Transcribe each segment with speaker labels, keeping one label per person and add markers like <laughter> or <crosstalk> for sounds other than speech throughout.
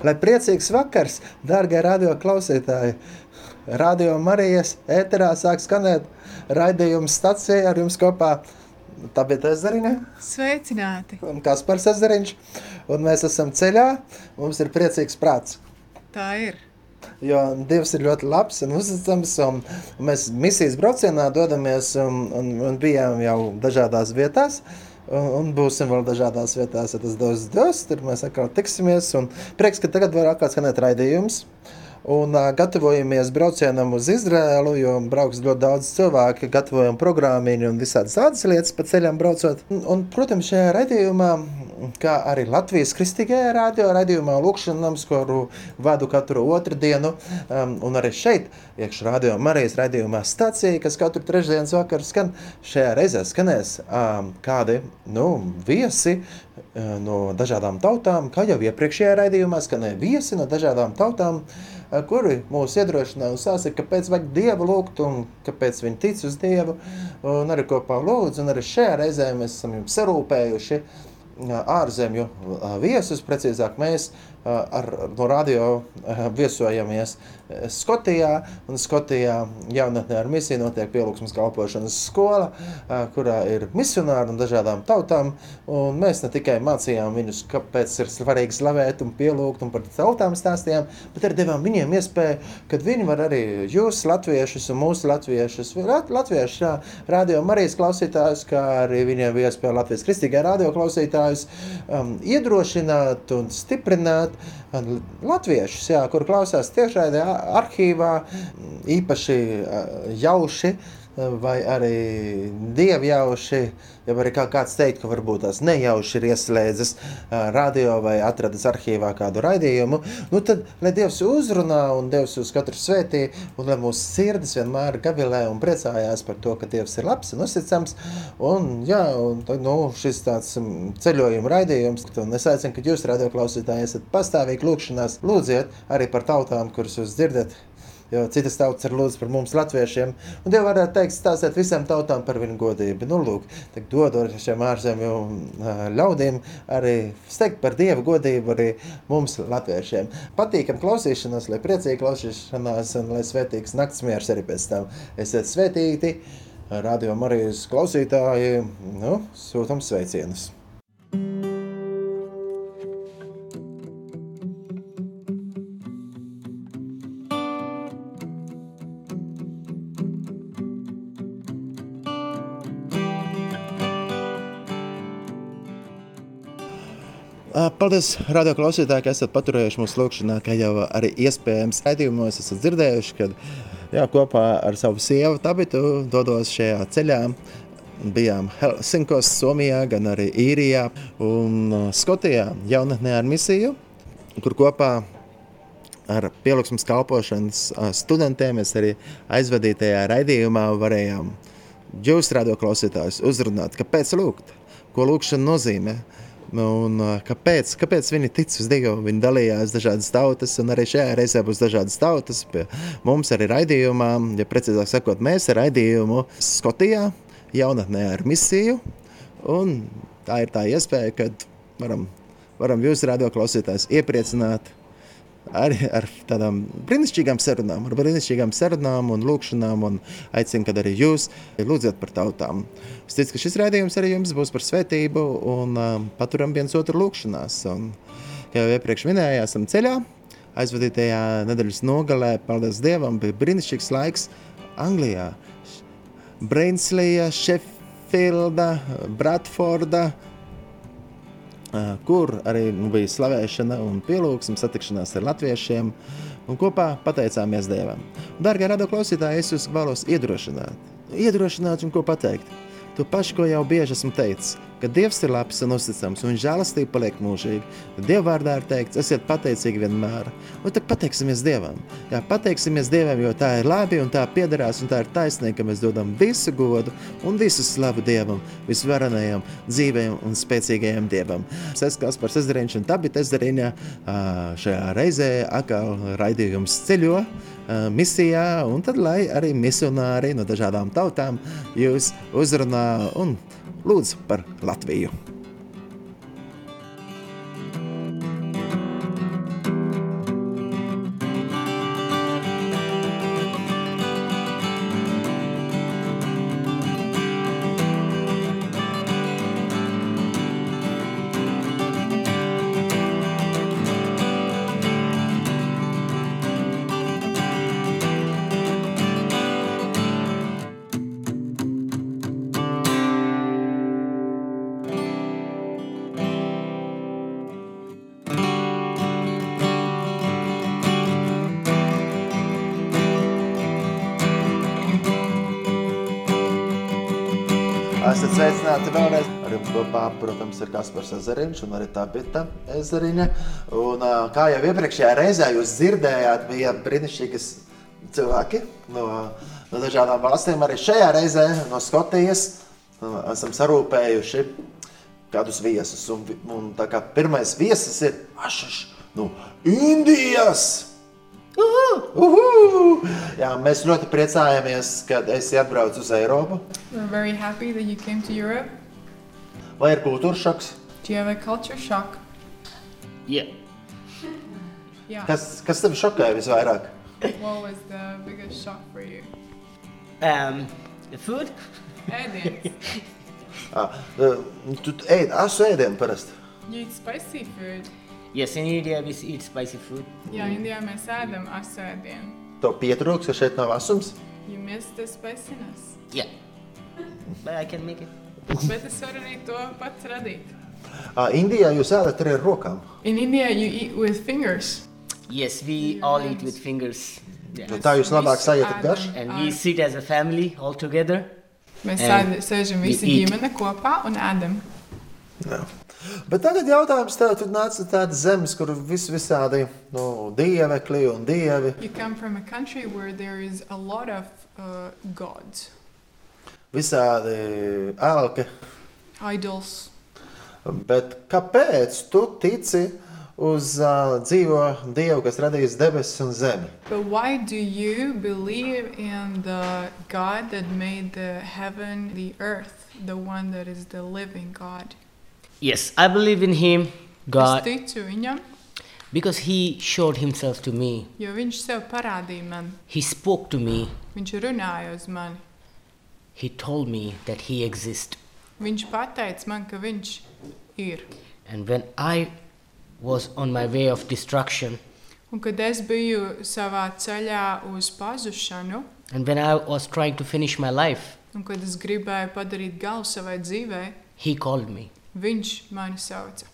Speaker 1: Lai priecīgs vakars, dārgie radio klausītāji! Radio Marijas ēterā sāk skanēt raidījuma stacija ar jums kopā Tabieta Ezeriņa
Speaker 2: Sveicināti!
Speaker 1: un Kaspars Ezeriņš. Un mēs esam ceļā, mums ir priecīgs prāts.
Speaker 2: Tā ir.
Speaker 1: Jo Dievs ir ļoti labs un uzticams. Un mēs misijas braucienā dodamies un, un, un bijām jau dažādās vietās. Un, un būsim vēl dažādās vietās, ja tas dos dos. Tur mēs atkal tiksimies. Un prieks, ka tagad var atkal skanēt raidījums. Un uh, gatavojamies braucienam uz Izraēlu, jo brauks ļoti daudz cilvēku, gatavojam programmiņu un visādas tādas lietas pa ceļam braucot. Un, un protams, šajā raidījumā, kā arī Latvijas kristīgajā radio raidījumā Lūkšanams, kuru vadu katru otrdienu, um, un arī šeit, iekš radio Marijas raidījumā stācija, kas katru trešdienas vakaru skan, šajā reizē skanēs um, kādi, nu, viesi, uh, no dažādām tautām, kā jau iepriekšējā raidījumā skanēja viesi no dažādām tautām, uh, kuri mūs iedrošināja un sāsīja, kāpēc vajag Dievu lūgt un kāpēc viņi tic uz Dievu un arī kopā lūdz. Un arī šajā reizē mēs esam jums sarūpējuši ārzemju viesus, precīzāk mēs ar, no radio viesojamies Skotijā, un Skotijā jaunatnē ar misiju notiek pielūgsmas kalpošanas skola, kurā ir misionāri un dažādām tautām, un mēs ne tikai mācījām viņus, kāpēc ir svarīgi slavēt un pielūgt un par tautām stāstījām, bet arī devām viņiem iespēju, kad viņi var arī jūs latviešus un mūsu latviešus, lat, latviešu jā, radio Marijas klausītājus, kā arī viņiem bija iespēja Latvijas kristīgā radio klausītājus um, iedrošināt un stiprināt um, latviešus, jā, kur klausās tiešraidē arhīvā, īpaši uh, jauši, um, vai arī dievjauši, ja arī kā kāds teikt, ka varbūt tās nejauši ir ieslēdzis ā, radio vai atradis arhīvā kādu raidījumu, nu tad, lai Dievs uzrunā un Dievs uz katru svētī, un lai mūsu sirdis vienmēr gavilē un priecājās par to, ka Dievs ir labs un uzticams, un jā, un tad, nu, šis tāds mm, ceļojuma raidījums, un es aicinu, ka jūs radioklausītāji esat pastāvīgi lūkšanās, lūdziet arī par tautām, kuras jūs dzirdat, jo citas tautas ir lūdzu par mums, latviešiem. Un Dievs varētu teikt, stāstiet visām tautām par viņu godību. Nu, lūk, tad dodot šiem ārzemju uh, ļaudīm arī steigt par Dievu godību arī mums, latviešiem. Patīkam klausīšanās, lai priecīgi klausīšanās un lai svētīgs nakts miers arī pēc tam. Esiet svētīti, radio Marijas klausītāji, nu, sūtam sveicienus. Paldies, radio klausītāji, ka esat paturējuši mūsu lūkšanā, ka jau arī iespējams raidījumos esat dzirdējuši, kad jā, kopā ar savu sievu Tabitu dodos šajā ceļā. Bijām Helsinkos, Somijā, gan arī Īrijā un uh, Skotijā jaunatnē ar misiju, kur kopā ar pielūgsmas kalpošanas uh, studentiem mēs arī aizvadītajā raidījumā varējām jūs radio klausītājus uzrunāt, kāpēc lūgt, ko lūkšana nozīmē. Un, uh, kāpēc, kāpēc viņi tic uz Dievu? Viņi dalījās dažādas tautas, un arī šajā reizē būs dažādas tautas. Pie mums arī raidījumā, ja precīzāk sakot, mēs ar raidījumu Skotijā, jaunatnē ar misiju. Un tā ir tā iespēja, kad varam, varam jūs, radioklausītājs, iepriecināt ar, ar tādām brīnišķīgām sarunām, ar brīnišķīgām sarunām un lūkšanām. Un aicinu, kad arī jūs lūdzat par tautām. Es ticu, ka šis raidījums arī jums būs par svētību un um, paturam viens otru lūkšanās. Un, kā jau iepriekš minēju, esam ceļā. Aizvadītajā nedēļas nogalē, paldies Dievam, bija brīnišķīgs laiks Anglijā. Brainsleja, Šefilda, Bratforda, Uh, kur arī nu, bija slavēšana un pielūgsme, satikšanās ar latviešiem. Un kopā pateicāmies Dievam. Darbie radioklausītāji, es jūs vēlos iedrošināt. Iedrošināt un ko pateikt? To pašu, ko jau bieži esmu teicis, ka Dievs ir labs un uzticams, un žēlastība paliek mūžīga. Dieva vārdā ir teikts, esiet pateicīgi vienmēr. Un tad pateiksimies Dievam. Jā, pateiksimies Dievam, jo tā ir labi un tā piederās, un tā ir taisnība, ka mēs dodam visu godu un visu slavu Dievam, visvarenajam, dzīvējam un spēcīgajam Dievam. Es esmu Kaspars Ezeriņš un Tabita Ezeriņa. Ā, Šajā reizē atkal raidījums ceļo ā, misijā, un tad lai arī misionāri no dažādām tautām jūs uzrunā un lūdz par Latviju. Esat sveicināti vēlreiz. Ar jums kopā, protams, ir Kaspars Ezeriņš un arī tā Bita Ezeriņa. Un, ā, kā jau iepriekšējā reizē jūs dzirdējāt, bija brīnišķīgas cilvēki no, no dažādām valstīm. Arī šajā reizē no Skotijas ā, esam sarūpējuši kādus viesus. Un, vi- un tā kā pirmais viesis ir Ašaš no Indijas! Uhu! Jā, mēs ļoti priecājamies, ka esi atbraucis uz Eiropu.
Speaker 3: We're very happy that you came to Europe.
Speaker 1: Vai ir kultūras šoks?
Speaker 3: Do you have a culture shock?
Speaker 4: Yeah.
Speaker 3: Yeah.
Speaker 1: Kas, kas tev šokēja visvairāk?
Speaker 3: what was the biggest shock for you?
Speaker 4: Um, the food?
Speaker 3: And it's,
Speaker 1: <laughs> Ah, eh, tu ēd, asu ēdienu parasti.
Speaker 3: you eat spicy food.
Speaker 4: Yes, in India we eat spicy food.
Speaker 3: Yeah,
Speaker 1: Mm.
Speaker 3: India mēs ēdam asēdienu.
Speaker 1: Tev pietrūks, ka šeit nav asums.
Speaker 3: You missed the
Speaker 1: <laughs>
Speaker 3: spiciness.
Speaker 4: Yeah. But I can make it.
Speaker 3: Bet es varu arī to pats radīt.
Speaker 1: Ah, Indijā jūs ēdat arī ar rokām.
Speaker 3: In India you eat with fingers.
Speaker 4: Yes, we all eat with fingers. Yeah.
Speaker 1: Nu, tā jūs labāk
Speaker 3: Visu
Speaker 1: sajūtat
Speaker 3: ēdam.
Speaker 1: garšu.
Speaker 4: And we sit as a family all together.
Speaker 3: Mēs
Speaker 4: And
Speaker 3: sēd, sēžam
Speaker 4: we
Speaker 3: visi
Speaker 4: eat.
Speaker 3: ģimene kopā un ēdam.
Speaker 1: Jā. Bet tagad jautājums tev, tu nāc no tādas zemes, kur vis visādi nu, dievekļi un dievi.
Speaker 3: You come from a country where there is a lot of uh, gods,
Speaker 1: Visādi ēlki.
Speaker 3: idols.
Speaker 1: Bet kāpēc tu tici uz uh, dzīvo dievu, kas radījis debesis un zemi?
Speaker 3: But why do you believe in the God that made the heaven, the earth, the one that is the living God?
Speaker 4: Yes, I believe in him,
Speaker 3: Es
Speaker 4: God,
Speaker 3: ticu viņam,
Speaker 4: because he showed himself to me.
Speaker 3: jo viņš sev parādīja man,
Speaker 4: He spoke to me.
Speaker 3: viņš runāja uz mani.
Speaker 4: He told me that he exists.
Speaker 3: Viņš pateica man, ka viņš ir.
Speaker 4: And when I was on my way of destruction,
Speaker 3: Un kad es biju savā ceļā uz pazušanu,
Speaker 4: and when I was trying to finish my life,
Speaker 3: un kad es gribēju padarīt galu savai dzīvei,
Speaker 4: he called me.
Speaker 3: viņš mani sauca.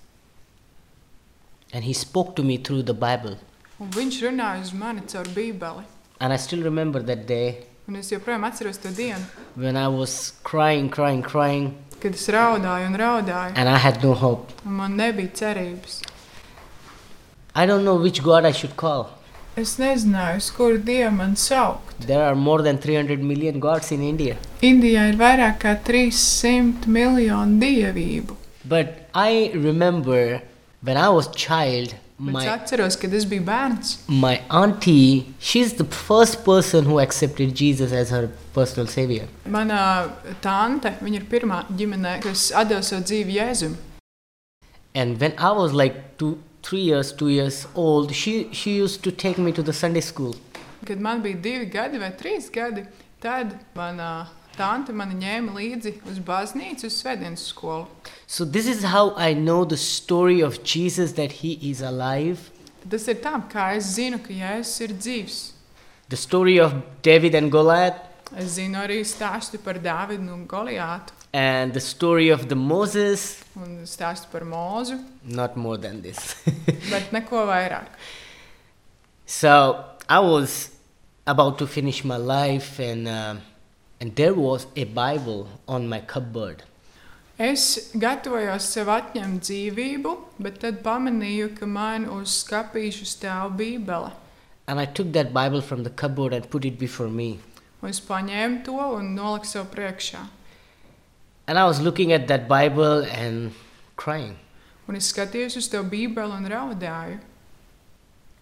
Speaker 4: And he spoke to me through the Bible.
Speaker 3: Un viņš runāja uz mani caur Bībeli.
Speaker 4: And I still remember that day
Speaker 3: Un es joprojām atceros to dienu.
Speaker 4: when I was crying, crying, crying,
Speaker 3: kad es raudāju un raudāju,
Speaker 4: and I had no hope.
Speaker 3: un man nebija cerības.
Speaker 4: I don't know which God I should call.
Speaker 3: Es nezināju, uz kuru dievu man saukt.
Speaker 4: There are more than 300 million gods in India.
Speaker 3: Indijā ir vairāk kā 300 miljonu dievību.
Speaker 4: But I remember when I was child,
Speaker 3: Bet es
Speaker 4: my,
Speaker 3: atceros, kad es biju bērns.
Speaker 4: my auntie, she's the first person who accepted Jesus as her personal savior.
Speaker 3: Mana tante, viņa ir pirmā ģimenē, kas atdeva savu dzīvi Jēzum.
Speaker 4: And when I was like two, three years, two years old, she, she used to take me to the Sunday school.
Speaker 3: Kad man bija divi gadi vai trīs gadi, tad mana tante mani ņēma līdzi uz baznīcu, uz svētdienas skolu.
Speaker 4: So this is how I know the story of Jesus that he is alive.
Speaker 3: Tas ir tā, kā es zinu, ka Jēzus ir dzīvs.
Speaker 4: The story of David and Goliath
Speaker 3: Es zinu arī stāstu par Dāvidu un Goliātu,
Speaker 4: and the story of the Moses,
Speaker 3: un stāstu par mūzu,
Speaker 4: not more than this. <laughs>
Speaker 3: bet neko vairāk.
Speaker 4: so I was about to finish my life, and um and there was a Bible on my cupboard,
Speaker 3: Es gatavojos sev atņemt dzīvību, bet tad pamanīju, ka man uz skapīšu stāv Bībele.
Speaker 4: and I took that Bible from the cupboard and put it before me,
Speaker 3: Un es paņēmu to un noliku sev priekšā.
Speaker 4: and I was looking at that Bible and crying,
Speaker 3: Un es skatījos uz to Bībeli un raudāju.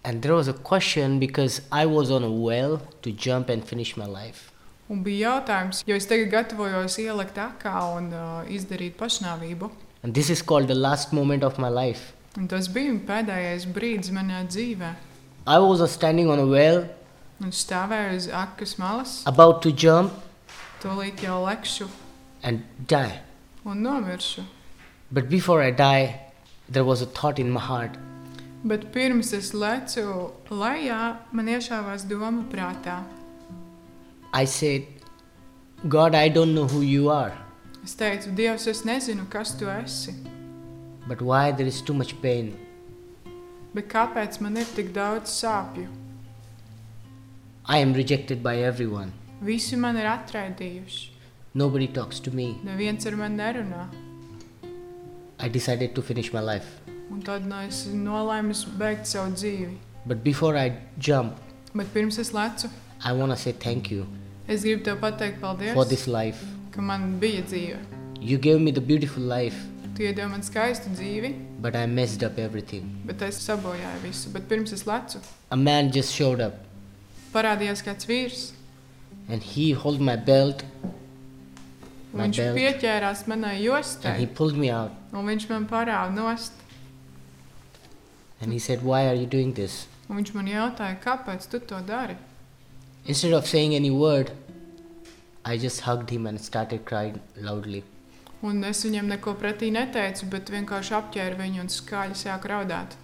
Speaker 4: and there was a question because I was on a well to jump and finish my life.
Speaker 3: Un bija jautājums, jo es tagad gatavojos ielikt akā un uh, izdarīt pašnāvību.
Speaker 4: And this is called the last moment of my life.
Speaker 3: Un tas bija pēdējais brīdis manā dzīvē.
Speaker 4: I was standing on a well,
Speaker 3: Un stāvēju uz akas malas.
Speaker 4: about to jump
Speaker 3: Tūlīt jau lekšu
Speaker 4: and die.
Speaker 3: un nomiršu.
Speaker 4: But before I die, there was a thought in my heart
Speaker 3: Bet pirms es lecu lejā, man iešāvās doma prātā.
Speaker 4: I said, God, I don't know who you are,
Speaker 3: Es teicu, Dievs, es nezinu, kas tu esi,
Speaker 4: but why there is too much pain?
Speaker 3: bet kāpēc man ir tik daudz sāpju?
Speaker 4: I am rejected by everyone.
Speaker 3: Visi man ir atraidījuši.
Speaker 4: Nobody talks to me.
Speaker 3: Neviens ar mani nerunā.
Speaker 4: I decided to finish my life.
Speaker 3: Un tad no es nolēmu beigt savu dzīvi.
Speaker 4: But before I jump,
Speaker 3: Bet pirms es lecu,
Speaker 4: I want to say thank you
Speaker 3: es gribu te pateikt paldies,
Speaker 4: for this life.
Speaker 3: ka man bija dzīve.
Speaker 4: You gave me the beautiful life,
Speaker 3: Tu iedod man skaistu dzīvi,
Speaker 4: but I messed up everything.
Speaker 3: bet es sabojāju visu. Bet pirms es lecu,
Speaker 4: A man just showed up
Speaker 3: parādījās kāds vīrs.
Speaker 4: and he held my belt
Speaker 3: un
Speaker 4: My
Speaker 3: Viņš
Speaker 4: belt.
Speaker 3: pieķērās manai
Speaker 4: and he
Speaker 3: jostai,
Speaker 4: pulled me out
Speaker 3: un viņš man parāda nost.
Speaker 4: and he said, Why are you doing this?
Speaker 3: Un viņš man jautāja, kāpēc tu to dari?
Speaker 4: Instead of saying any word, I just hugged him and started crying loudly.
Speaker 3: Un es viņam neko pretī neteicu, bet vienkārši apģērbu viņu un skaļi sāku raudāt.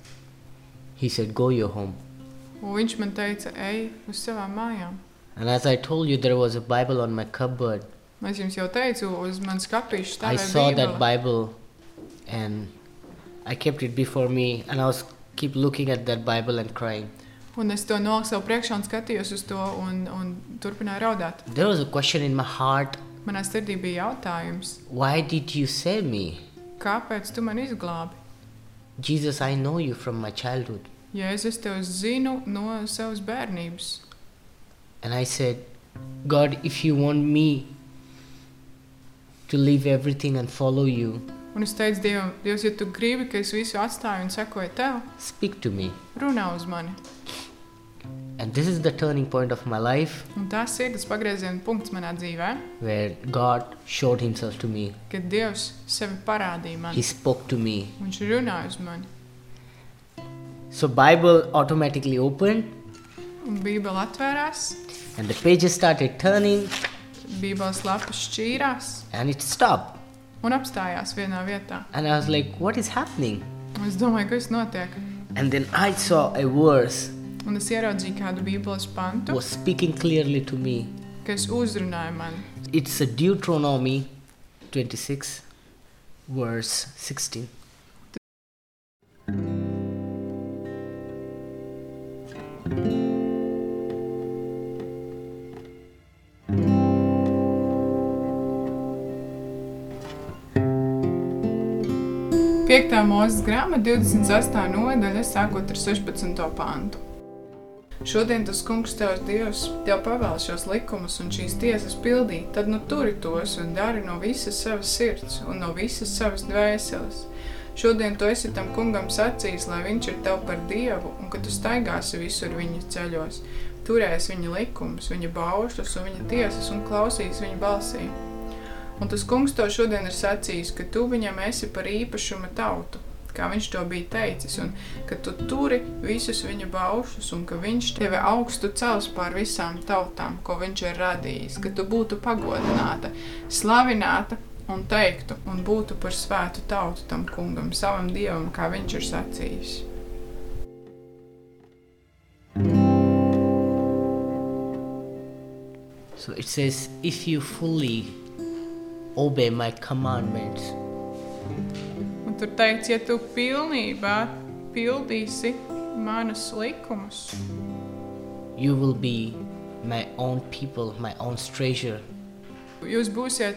Speaker 4: He said, Go your home.
Speaker 3: Un viņš man teica, ej uz savām mājām.
Speaker 4: And as I told you, there was a Bible on my cupboard.
Speaker 3: Es jums jau teicu, uz manas kapīšu
Speaker 4: I
Speaker 3: stāvēja
Speaker 4: saw
Speaker 3: Bībele.
Speaker 4: that Bible and I kept it before me and I was keep looking at that Bible and crying.
Speaker 3: Un es to noliku sev priekšā un skatījos uz to un, un turpināju raudāt.
Speaker 4: There was a question in my heart,
Speaker 3: Manā sirdī bija jautājums,
Speaker 4: why did you save me?
Speaker 3: kāpēc tu man izglābi?
Speaker 4: Jesus, I know you from my childhood.
Speaker 3: Jēzus, es tevi zinu no savas bērnības.
Speaker 4: And I said, God, if you want me to leave everything and follow you,
Speaker 3: Un es teicu, Dievam, Dievs, ja tu gribi, ka es visu atstāju un sekoju tev,
Speaker 4: speak to me.
Speaker 3: runā uz mani.
Speaker 4: And this is the turning point of my life
Speaker 3: Un tas ir tas pagrieziena punkts manā dzīvē,
Speaker 4: where God showed himself to me.
Speaker 3: kad Dievs sevi parādīja man.
Speaker 4: He spoke to me.
Speaker 3: Viņš runāja uz mani.
Speaker 4: So Bible automatically opened
Speaker 3: Un Bībele atvērās,
Speaker 4: and the pages started turning
Speaker 3: Bībeles lapas šķīrās
Speaker 4: and it stopped.
Speaker 3: un apstājās vienā vietā.
Speaker 4: And I was like, what is happening?
Speaker 3: Un es domāju, kas notiek.
Speaker 4: And then I saw a verse
Speaker 3: Un es ieraudzīju kādu Bībeles pantu,
Speaker 4: was speaking clearly to me.
Speaker 3: kas uzrunāja mani.
Speaker 4: It's a Deuteronomy 26 verse 16.
Speaker 3: Piektā mūzes grāmata, 28. nodaļa, sākot ar 16. pantu. Šodien tas kungs tevs Dievs tev pavēl šos likumus un šīs tiesas pildīt, tad nu turi tos un dari no visas savas sirds un no visas savas dvēseles. Šodien tu esi tam kungam sacījis, lai viņš ir tev par dievu un ka tu staigāsi visur viņa ceļos, turēs viņa likumus, viņa baušļus un viņa tiesas un klausīs viņa balsī. Un tas kungs to šodien ir sacījis, ka tu viņam esi par īpašumu tautu, kā viņš to bija teicis, un ka tu turi visus viņa baušus, un ka viņš tevi augstu cels pār visām tautām, ko viņš ir radījis, ka tu būtu pagodināta, slavināta un teiktu, un būtu par svētu tautu tam kungam, savam dievam, kā viņš ir sacījis.
Speaker 4: So it says, if you fully obey my commandments,
Speaker 3: Un tur teikts, ja tu pilnībā pildīsi manus likumus.
Speaker 4: you will be my own people, my own treasure.
Speaker 3: Jūs būsiet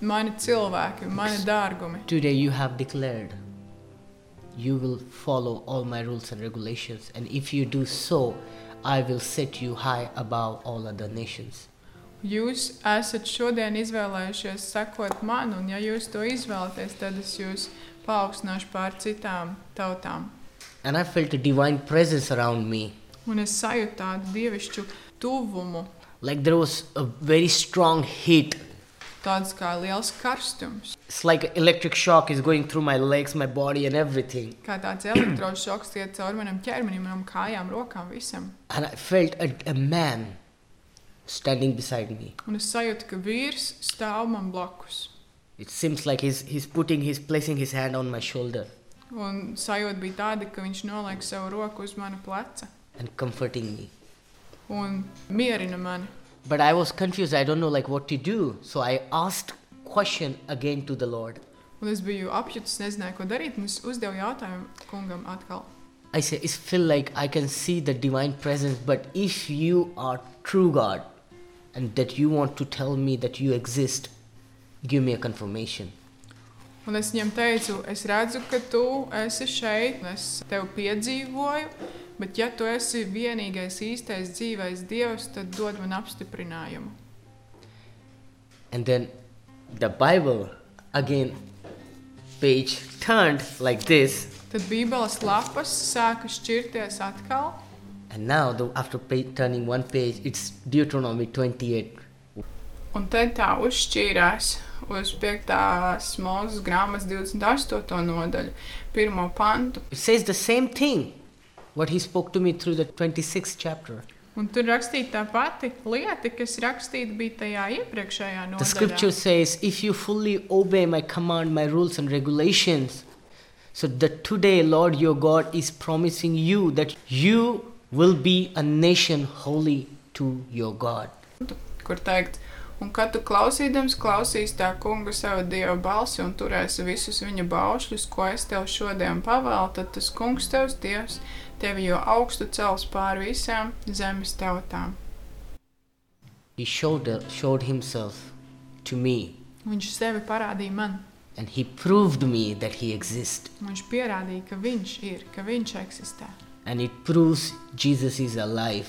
Speaker 3: mani cilvēki, mani dārgumi.
Speaker 4: Today you have declared you will follow all my rules and regulations, and if you do so, I will set you high above all other nations.
Speaker 3: Jūs esat šodien izvēlējušies sekot man, un ja jūs to izvēlaties, tad es jūs paaugstināšu pār citām tautām.
Speaker 4: And I felt a divine presence around me.
Speaker 3: Un es sajūtu tādu dievišķu tuvumu,
Speaker 4: Like there was a very strong heat.
Speaker 3: tāds kā liels karstums,
Speaker 4: It's like an electric shock is going through my legs, my body, and everything.
Speaker 3: kā tāds <coughs> elektrošoks iet cauri manam ķermenim, manām kājām, rokām, visam.
Speaker 4: And I felt a, a man standing beside me.
Speaker 3: Un es sajūtu, ka vīrs stāv man blakus.
Speaker 4: It seems like he's, he's putting, he's placing his hand on my shoulder
Speaker 3: Un sajūta bija tāda, ka viņš noliek savu roku uz mana pleca
Speaker 4: and comforting me.
Speaker 3: un mierina mani.
Speaker 4: But I was confused. I don't know like what to do. So I asked question again to the Lord.
Speaker 3: Un es biju apjutis, nezināju, ko darīt. un Es uzdevu jautājumu kungam atkal.
Speaker 4: I said, it's feel like I can see the divine presence, but if you are true God and that you want to tell me that you exist, Give me a confirmation.
Speaker 3: Un es viņam teicu, es redzu, ka tu esi šeit, un es tevi piedzīvoju, bet ja tu esi vienīgais īstais dzīvais dievs, tad dod man apstiprinājumu.
Speaker 4: And then the Bible, again, page turned like this.
Speaker 3: Tad Bībeles lapas sāka šķirties atkal.
Speaker 4: And now, the, after pa- turning one page, it's Deuteronomy 28.
Speaker 3: Un te tā uzšķīrās uz 5. mūža grāmatas 28. nodaļu, 1. pantu.
Speaker 4: It says the same thing what he spoke to me through the 26th chapter.
Speaker 3: Un tur rakstīta tā pati lieta, kas rakstīta bija tajā iepriekšējā
Speaker 4: The scripture
Speaker 3: nodaļā.
Speaker 4: says, If you fully obey my command, my rules and regulations, so that today, Lord your God is promising you that you will be a nation holy to your God.
Speaker 3: Kur teikt, un kad tu klausīdams klausīs tā kunga savu dievu balsi un turēsi visus viņa baušļus, ko es tev šodien pavēlu, tad tas kungs tevs dievs tevi jau augstu cels pāri visām zemes tautām.
Speaker 4: He showed, uh, showed himself to me
Speaker 3: Viņš sevi parādīja man.
Speaker 4: and he proved me that he exists.
Speaker 3: Viņš pierādīja, ka viņš ir, ka viņš eksistē.
Speaker 4: And it proves Jesus is alive.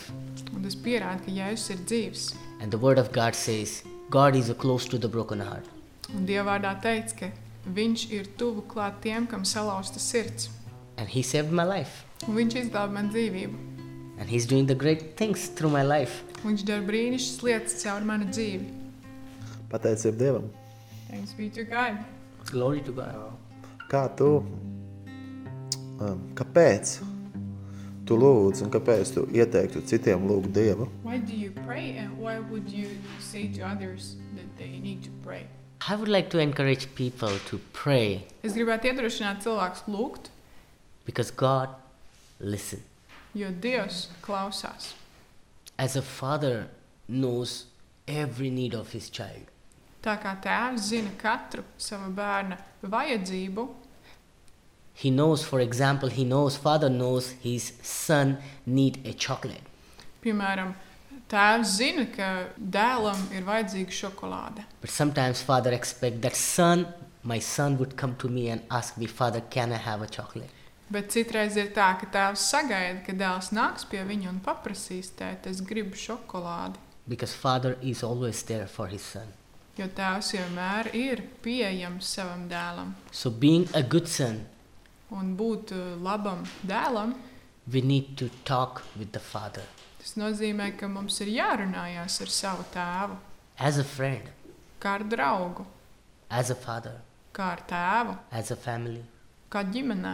Speaker 3: Un tas pierāda, ka Jēzus ir dzīves.
Speaker 4: And the word of God says, God is close to the broken heart.
Speaker 3: Un Dievvvārdā teica, ka viņš ir tuvu klāt tiem, kam salauzta sirds.
Speaker 4: And he saved my life.
Speaker 3: Un viņš izglāba man dzīvību.
Speaker 4: And he's doing the great things through my life.
Speaker 3: Viņš dara brīnišķīgas lietas caur manu dzīvi.
Speaker 1: Pateicība Dievam.
Speaker 3: Thanks be to God.
Speaker 4: Glory to God.
Speaker 1: Kā tu? Um, kāpēc? Tu lūdz, un kāpēc tu ieteiktu citiem lūgt Dievu?
Speaker 3: Why do you pray and why would you say to others that they need to pray?
Speaker 4: I would like to encourage people to pray
Speaker 3: Es gribētu iedrošināt cilvēkus lūgt,
Speaker 4: because God listen.
Speaker 3: jo Dievs klausās.
Speaker 4: As a father knows every need of his child,
Speaker 3: Tā kā tēvs zina katru sava bērna vajadzību,
Speaker 4: he knows, for example, he knows, father knows his son need a chocolate.
Speaker 3: Piemēram, tēvs zina, ka dēlam ir vajadzīga šokolāde.
Speaker 4: But sometimes father expect that son, my son would come to me and ask me, father, can I have a chocolate?
Speaker 3: Bet citreiz ir tā, ka tēvs sagaida, ka dēls nāks pie viņa un paprasīs, tēt, es gribu šokolādi.
Speaker 4: Because father is always there for his son.
Speaker 3: Jo tēvs vienmēr ir pieejams savam dēlam.
Speaker 4: So being a good son,
Speaker 3: Un būt eh, labam dēlam,
Speaker 4: we need to talk with the father
Speaker 3: tas nozīmē, ka mums ir jārunājās ar savu tēvu,
Speaker 4: as a friend,
Speaker 3: kā ar draugu,
Speaker 4: as a father,
Speaker 3: kā ar tēvu,
Speaker 4: as a family.
Speaker 3: kā ģimenē.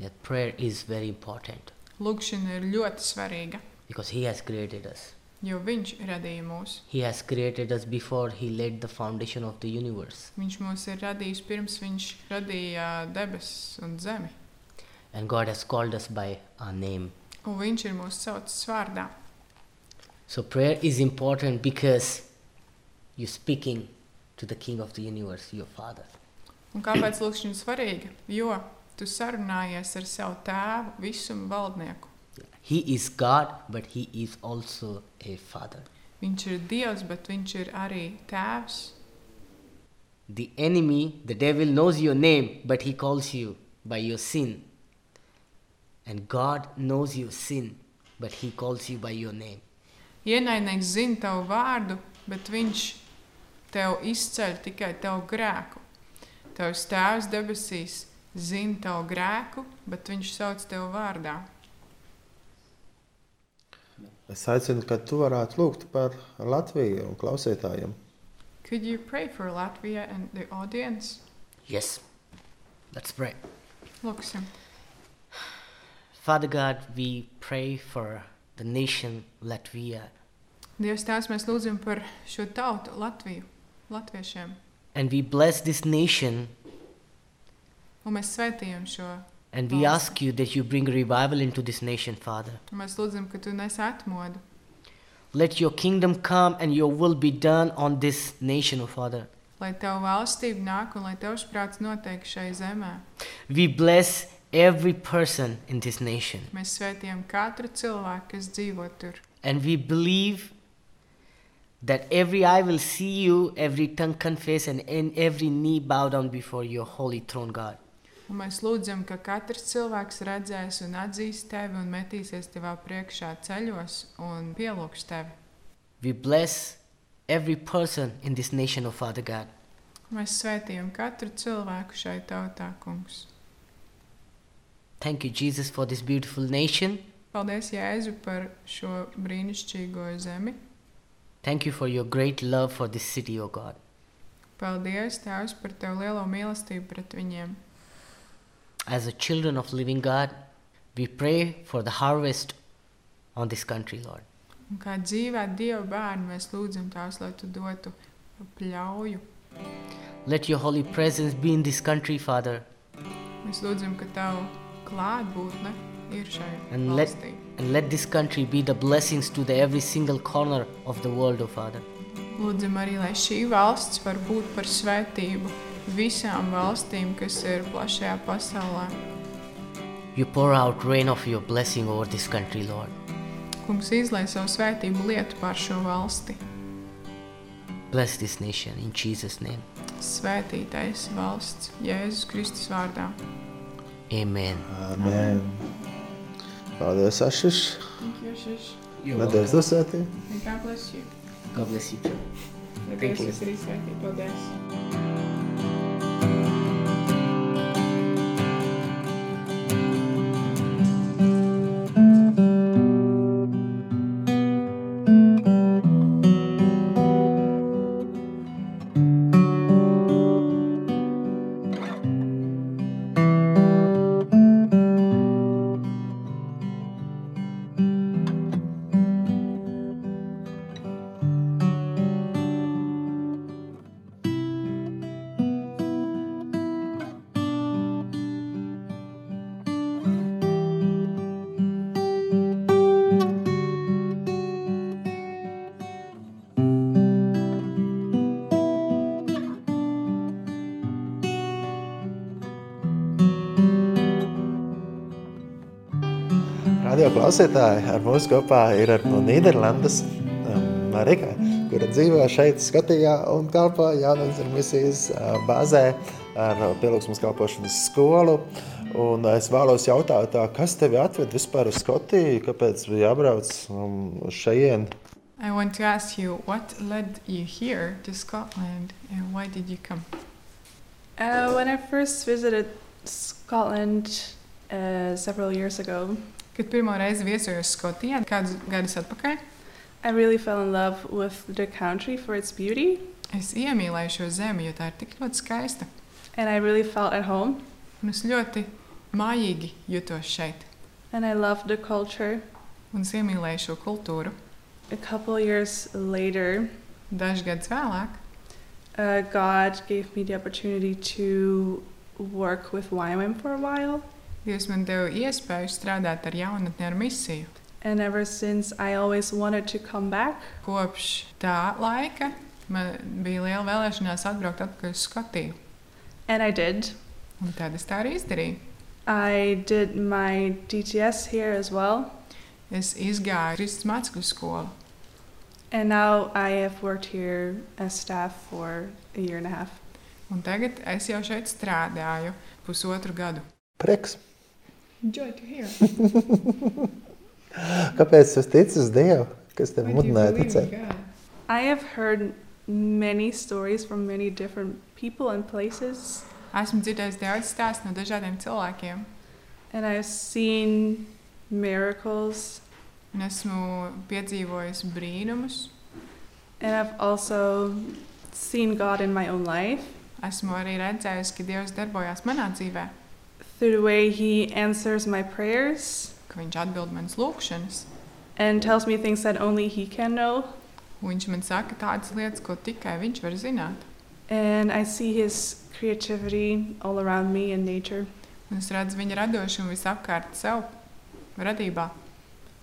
Speaker 4: That prayer is very important
Speaker 3: Lūkšana ir ļoti svarīga,
Speaker 4: because He has created us.
Speaker 3: jo viņš radīja mūs.
Speaker 4: He has created us before He laid the foundation of the universe.
Speaker 3: Viņš mūs ir radījis pirms viņš radīja debesis un zemi.
Speaker 4: And God has called us by our name.
Speaker 3: Un viņš ir mūsu saucamais vārdā.
Speaker 4: So prayer is important because you're speaking to the King of the universe, your Father.
Speaker 3: Un kāpēc lūkšana ir svarīga? Jo tu sarunājies ar savu tēvu, visuma valdnieku.
Speaker 4: He is God, but He is also a Father.
Speaker 3: Viņš ir Dievs, bet viņš ir arī tēvs.
Speaker 4: The enemy, the devil, knows your name, but he calls you by your sin. And God knows your sin, but he calls you by your name.
Speaker 3: Ienaidnieks zina tavu vārdu, bet viņš tev izceļ tikai tavu grēku. Tavs tēvs debesīs zina tavu grēku, bet viņš sauc tev vārdā.
Speaker 1: Es aicinu, ka tu varētu lūgt par Latviju un klausītājiem.
Speaker 3: Could you pray for Latvia and the audience?
Speaker 4: Yes. Let's pray.
Speaker 3: Lūksim.
Speaker 4: Father God, we pray for the nation Latvia
Speaker 3: Dievs, tās mēs lūdzam par šo tautu, Latviju, Latviešiem.
Speaker 4: and we bless this nation
Speaker 3: Un mēs svētījam šo.
Speaker 4: and we ask you that you bring revival into this nation, Father.
Speaker 3: Un mēs lūdzam, ka tu nes atmodu.
Speaker 4: Let your kingdom come and your will be done on this nation, O Father.
Speaker 3: Lai tev valstība nāk un lai tavs prāts notiek šai zemē.
Speaker 4: We bless every person in this nation.
Speaker 3: Mēs svētījam katru cilvēku, kas dzīvo tur.
Speaker 4: And we believe that every eye will see you, every tongue confess, and in every knee bow down before your holy throne, God.
Speaker 3: Un mēs lūdzam, ka katrs cilvēks redzēs un atzīs tevi un metīsies tevā priekšā ceļos un pielūgs tevi.
Speaker 4: We bless every person in this nation, O Father God.
Speaker 3: Mēs svētījam katru cilvēku šai tautā, kungs.
Speaker 4: Thank you, Jesus, for this beautiful nation.
Speaker 3: Paldies, Jēzu, par šo brīnišķīgo zemi.
Speaker 4: Thank you for your great love for this city, O God.
Speaker 3: Paldies, Tēvs, par Tavu lielo mīlestību pret viņiem.
Speaker 4: As the children of living God, we pray for the harvest on this country, Lord.
Speaker 3: Un kā dzīvē Dieva bērnu mēs lūdzam Tās, lai Tu dotu pļauju.
Speaker 4: Let your holy presence be in this country, Father,
Speaker 3: Mēs lūdzam, ka Tava klātbūtne ir šajā
Speaker 4: and let,
Speaker 3: valstī.
Speaker 4: and let this country be the blessings to the every single corner of the world, O Father.
Speaker 3: Lūdzam arī, lai šī valsts var būt par svētību visām valstīm, kas ir plašajā pasaulē.
Speaker 4: You pour out rain of your blessing over this country, Lord.
Speaker 3: Kungs izlai savu svētību lietu pār šo valsti.
Speaker 4: Bless this nation in Jesus' name.
Speaker 3: Svētītais valsts Jēzus Kristus vārdā.
Speaker 4: Amen.
Speaker 1: Amen. Paldies, Ašiš.
Speaker 3: Thank you, Shish.
Speaker 1: Nedēļas dosētī.
Speaker 3: God bless you.
Speaker 4: God bless you too.
Speaker 3: Thank you. Tas ir svētība. Paldies.
Speaker 1: Radio klausītāji, ar mums kopā ir ar- no Nīderlandes um, Marika, kura dzīvo šeit, Skotijā un kalpo Jānis un Misijas uh, bāzē ar uh, pielūgsmas kalpošanas skolu. Un es vēlos jautāt, tā, kas tevi atved vispār uz Skotiju, kāpēc bija jābrauc um, uz šajien?
Speaker 3: I want to ask you what led you here to Scotland and why did you come?
Speaker 5: Uh, when I first visited Scotland uh, several years ago,
Speaker 3: Kad pirmo reizi viesojos Skotijā, kādus gadus atpakaļ,
Speaker 5: I really fell in love with the country for its beauty,
Speaker 3: es iemīlēju šo zemi, jo tā ir tik ļoti skaista.
Speaker 5: and I really felt at home.
Speaker 3: Un es ļoti mājīgi jutos šeit,
Speaker 5: And I loved the culture.
Speaker 3: un es iemīlēju šo kultūru.
Speaker 5: A couple years later,
Speaker 3: Dažs gadus vēlāk
Speaker 5: uh, God gave me the opportunity to work with YWAM for a while,
Speaker 3: Dievs man deva iespēju strādāt ar jaunatni ar misiju.
Speaker 5: and ever since I always wanted to come back.
Speaker 3: Kopš tā laika man bija liela vēlēšanās atbraukt atpakaļ uz Skotiju,
Speaker 5: And I did.
Speaker 3: un tad es tā arī izdarīju.
Speaker 5: I did my DTS here as well,
Speaker 3: Es izgāju Kristus mācekļu skolu,
Speaker 5: And now I have worked here as staff for a year and a half.
Speaker 3: un tagad es jau šeit strādāju pusotru gadu.
Speaker 1: Prieks.
Speaker 3: Enjoy to hear.
Speaker 1: Kāpēc tu tici uz Dievu? Kas tev mudināja Nu, ticēt?
Speaker 5: I have heard many stories from many different people and places,
Speaker 3: Esmu dzirdējis daudz stāstu no dažādiem cilvēkiem,
Speaker 5: and I've seen miracles,
Speaker 3: un esmu piedzīvojis brīnumus.
Speaker 5: and I've also seen God in my own life
Speaker 3: Esmu arī redzējis, ka Dievs darbojās manā dzīvē,
Speaker 5: through the way He answers my prayers
Speaker 3: ka Viņš atbild manas lūgšanas.
Speaker 5: and tells me things that only He can know.
Speaker 3: Viņš man saka tādas lietas, ko tikai Viņš var zināt.
Speaker 5: And I see His creativity all around me in nature.
Speaker 3: Un es redzu viņa radošumu visapkārt sev, radībā.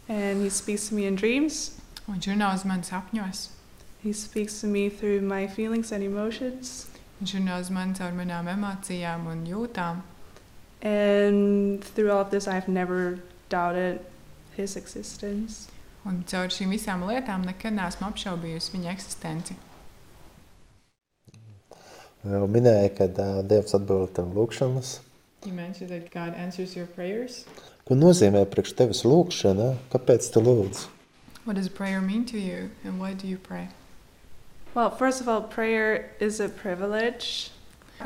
Speaker 5: And He speaks to me in dreams.
Speaker 3: Viņš runā uz manis sapņos,
Speaker 5: He speaks to me through my feelings and emotions.
Speaker 3: viņš runā uz mani caur manām emocijām un jūtām.
Speaker 5: And through all of this, I've never doubted his existence.
Speaker 3: un caur šīm visām lietām nekad neesmu apšaubījusi viņa eksistenci.
Speaker 1: Jau minēja, ka uh, Dievs atbild tev lūgšanas.
Speaker 3: You mentioned that God answers your prayers.
Speaker 1: Ko nozīmē priekš tevis lūgšana? Kāpēc tu lūdz?
Speaker 3: What does prayer mean to you and why do you pray?
Speaker 5: Well, first of all, prayer is a privilege.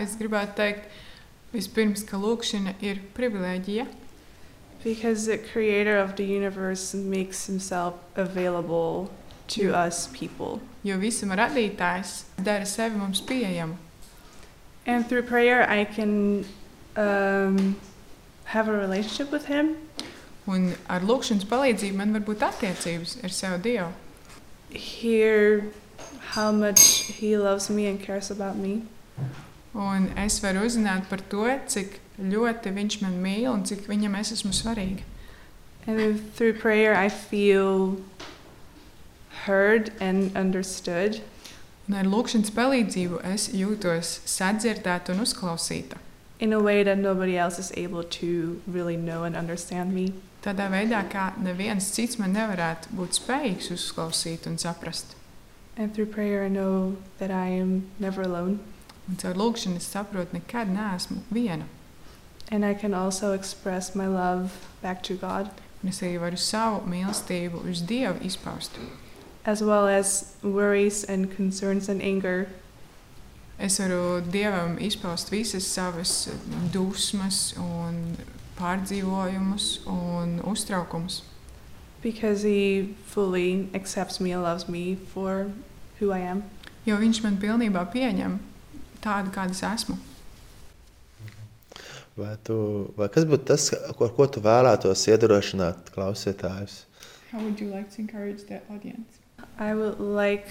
Speaker 3: Es gribētu teikt, vispirms, ka lūkšana ir privilēģija,
Speaker 5: Because the creator of the universe makes himself available to us people.
Speaker 3: jo visuma radītājs dara sevi mums pieejamu.
Speaker 5: And through prayer, I can um, have a relationship with him.
Speaker 3: Un ar lūkšanas palīdzību man var būt attiecības ar sevi Dievu.
Speaker 5: Hear how much he loves me and cares about me.
Speaker 3: Un es varu uzzināt par to, cik ļoti viņš man mīl un cik viņam es esmu svarīga.
Speaker 5: And then through prayer, I feel heard and understood.
Speaker 3: Un ar lūkšanas palīdzību es jūtos sadzirdēta un uzklausīta.
Speaker 5: in a way that nobody else is able to really know and understand me.
Speaker 3: Tādā veidā, kā neviens cits man nevarētu būt spējīgs uzklausīt un saprast.
Speaker 5: And through prayer, I know that I am never alone.
Speaker 3: Un caur lūkšanu es saprotu, nekad neesmu viena.
Speaker 5: And I can also express my love back to God,
Speaker 3: Un es arī varu savu mīlestību uz Dievu izpaust.
Speaker 5: as well as worries and concerns and anger.
Speaker 3: Es varu Dievam izpaust visas savas dusmas, un pārdzīvojumus un uztraukumus.
Speaker 5: Because he fully accepts me and loves me for who I am.
Speaker 3: Jo Viņš man pilnībā pieņem tādu, kāda es esmu.
Speaker 1: Vai tu, vai kas būtu tas, ko, ar ko tu vēlētos iedrošināt klausītājus?
Speaker 3: How would you like to encourage the audience?
Speaker 5: I would like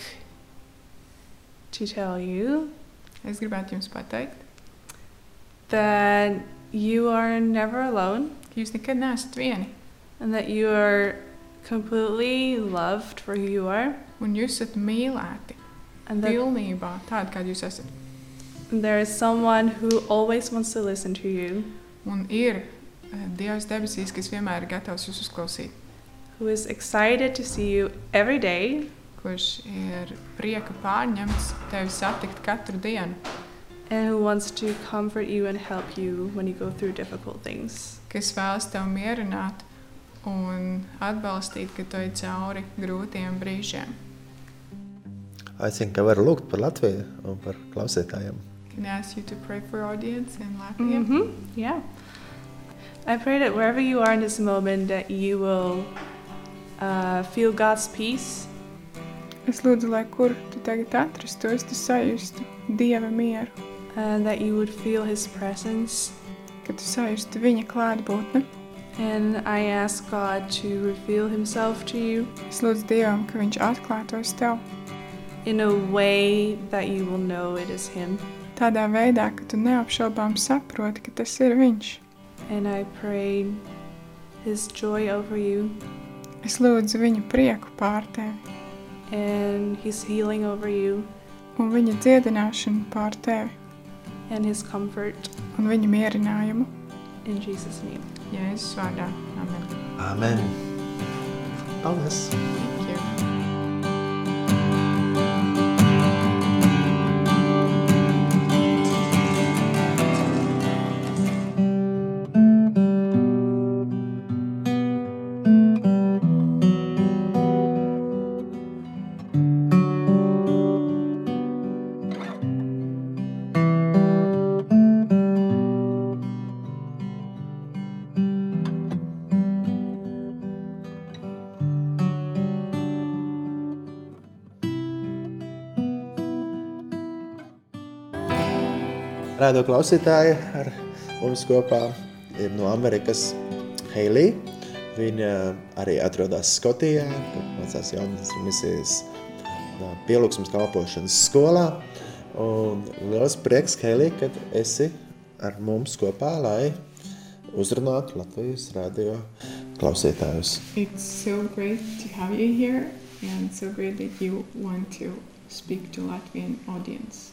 Speaker 5: to tell you
Speaker 3: Es gribētu jums pateikt,
Speaker 5: that you are never alone.
Speaker 3: ka jūs nekad neesat vieni,
Speaker 5: and that you are completely loved for who you are,
Speaker 3: un jūs esat mīlēti
Speaker 5: and that
Speaker 3: pilnībā tādi, kādi jūs esat.
Speaker 5: there is someone who always wants to listen to you,
Speaker 3: Un ir eh, Dievs debesīs, kas vienmēr ir gatavs jūs uzklausīt,
Speaker 5: who is excited to see you every day,
Speaker 3: kurš ir prieka pārņemts tevi satikt katru dienu.
Speaker 5: and who wants to comfort you and help you when you go through difficult things.
Speaker 3: kas vēlas tevi mierināt un atbalstīt, ka tu ej cauri grūtiem brīžiem.
Speaker 1: Aicinu, ka var lūgt par Latviju un par klausītājiem.
Speaker 3: Can I ask you to pray for audience in Latvia?
Speaker 6: Mm-hmm.
Speaker 3: Mm -hmm.
Speaker 5: hmm Yeah. I pray that wherever you are in this moment, that you will uh, feel God's peace,
Speaker 6: Es lūdzu, lai kur tu tagad atrastos, tu sajustu dieva mieru,
Speaker 5: and that you would feel His presence.
Speaker 6: ka tu sajustu viņa klātbūtni.
Speaker 5: And I ask God to reveal Himself to you.
Speaker 6: Es lūdzu Dievam, ka Viņš atklātos tev
Speaker 5: in a way that you will know it is Him.
Speaker 6: tādā veidā, ka tu neapšaubām saproti, ka tas ir Viņš.
Speaker 5: And I pray His joy over you
Speaker 6: Es lūdzu Viņa prieku pār tevi
Speaker 5: and His healing over you
Speaker 6: un Viņa dziedināšanu pār tevi
Speaker 5: and His comfort
Speaker 6: un Viņa mierinājumu.
Speaker 5: in Jesus' name.
Speaker 3: Jēzus vārdā. Amen.
Speaker 1: Amen! Paldies!
Speaker 3: Thank you.
Speaker 1: Radio klausītāji ar mums kopā ir no Amerikas Heilija. Viņa eh, arī atrodas Skotijā, kur mācās jaunas misijas nā, eh, pielūgsmes kalpošanas skolā. Un liels prieks, Heilija, ka esi ar mums kopā, lai uzrunātu Latvijas radio klausītājus.
Speaker 3: It's so great to have you here and so great that you want to speak to Latvian audience.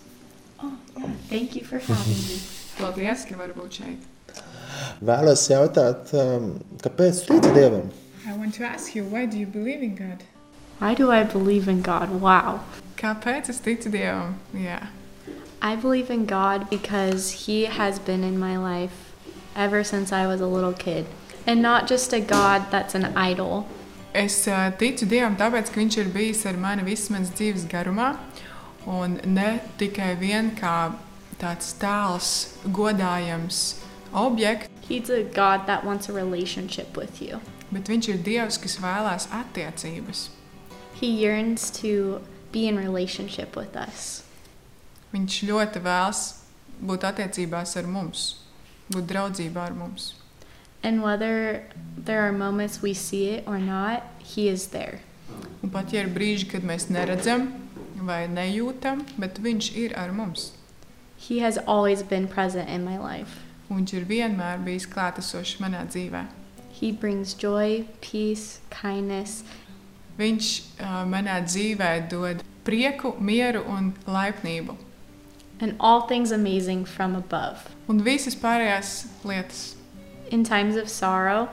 Speaker 7: Oh, yeah. Thank you for having
Speaker 3: <laughs>
Speaker 7: me.
Speaker 3: Paldies, ka var būt šeit.
Speaker 1: Vēlos jautāt, um, eh, kāpēc tu tici Dievam?
Speaker 2: I want to ask you, why do you believe in God?
Speaker 7: Why do I believe in God? Wow.
Speaker 3: Kāpēc es ticu Dievam? Jā.
Speaker 7: I believe in God because He has been in my life ever since I was a little kid. And not just a God that's an idol.
Speaker 3: Es ā, ticu Dievam, tāpēc, ka Viņš ir bijis ar mani visu manas dzīves garumā, un ne tikai vien kā tāds tāls, godājams objekts,
Speaker 7: He's a God that wants a relationship with you.
Speaker 3: bet Viņš ir Dievs, kas vēlās attiecības.
Speaker 7: He yearns to be in relationship with us.
Speaker 3: Viņš ļoti vēlas būt attiecībās ar mums, būt draudzībā ar mums.
Speaker 7: And whether there are moments we see it or not, He is there.
Speaker 3: Un pat ja ir brīži, kad mēs neredzam vai nejūtam, bet Viņš ir ar mums.
Speaker 7: He has always been present in my life.
Speaker 3: Un Viņš ir vienmēr bijis klātesošs manā dzīvē.
Speaker 7: He brings joy, peace, kindness,
Speaker 3: Viņš uh, manā dzīvē dod prieku, mieru un laipnību.
Speaker 7: and all things amazing from above.
Speaker 3: Un visas pārējās lietas,
Speaker 7: In times of sorrow,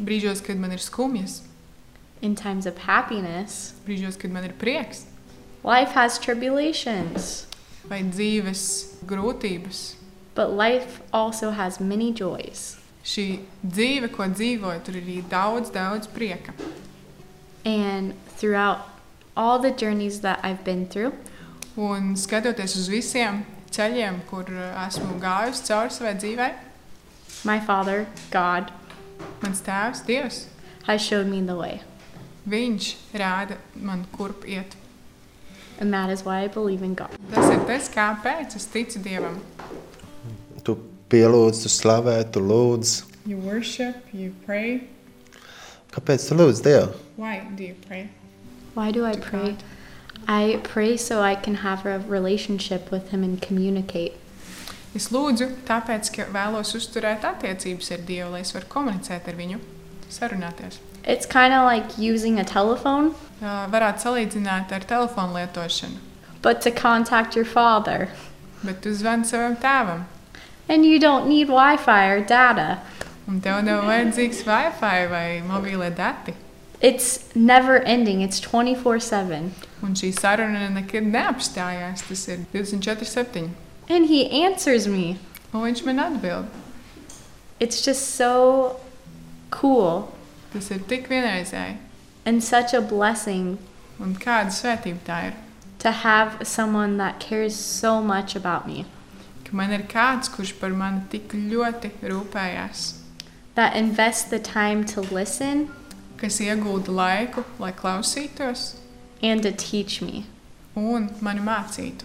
Speaker 3: brīžos, kad man ir skumjas,
Speaker 7: in times of happiness,
Speaker 3: brīžos, kad man ir prieks,
Speaker 7: life has tribulations,
Speaker 3: vai dzīves grūtības,
Speaker 7: but life also has many joys.
Speaker 3: šī dzīve, ko dzīvoju, tur ir arī daudz, daudz prieka.
Speaker 7: And throughout all the journeys that I've been through,
Speaker 3: Un skatoties uz visiem ceļiem, kur eh, esmu gājusi cauri savai dzīvei,
Speaker 7: my Father, God,
Speaker 3: mans tēvs, Dievs,
Speaker 7: has showed me the way.
Speaker 3: viņš rāda man, kurp iet.
Speaker 7: And that is why I believe in God.
Speaker 3: Tas ir tas, kāpēc es ticu Dievam.
Speaker 1: Tu pielūdz, tu slavē, tu lūdz.
Speaker 2: You worship, you pray.
Speaker 1: Kāpēc tu lūdz Dievu?
Speaker 2: Why do you pray?
Speaker 7: Why do I pray? I pray so I can have a relationship with Him and communicate.
Speaker 3: Es lūdzu, tāpēc, ka vēlos uzturēt attiecības ar Dievu, lai es varu komunicēt ar viņu, sarunāties.
Speaker 7: It's kind of like using a telephone,
Speaker 3: Ā, Varētu salīdzināt ar telefonu lietošanu,
Speaker 7: but to contact your Father.
Speaker 3: bet tu zvani savam tēvam,
Speaker 7: And you don't need Wi Fi or data.
Speaker 3: un tev nav vajadzīgs Wi-Fi vai mobīlie dati.
Speaker 7: It's never ending, it's 24 7.
Speaker 3: Un šī saruna nekad neapstājās. Tas ir 24,7.
Speaker 7: And He answers me.
Speaker 3: Un viņš man atbild.
Speaker 7: It's just so cool
Speaker 3: Tas ir tik vienreizēji.
Speaker 7: and such a blessing
Speaker 3: Un kāda svētība tā ir?
Speaker 7: to have someone that cares so much about me,
Speaker 3: Ka man ir kāds, kurš par mani tik ļoti rūpējās,
Speaker 7: that invests the time to listen
Speaker 3: kas iegūda laiku, lai klausītos
Speaker 7: and to teach me.
Speaker 3: un mani mācītu.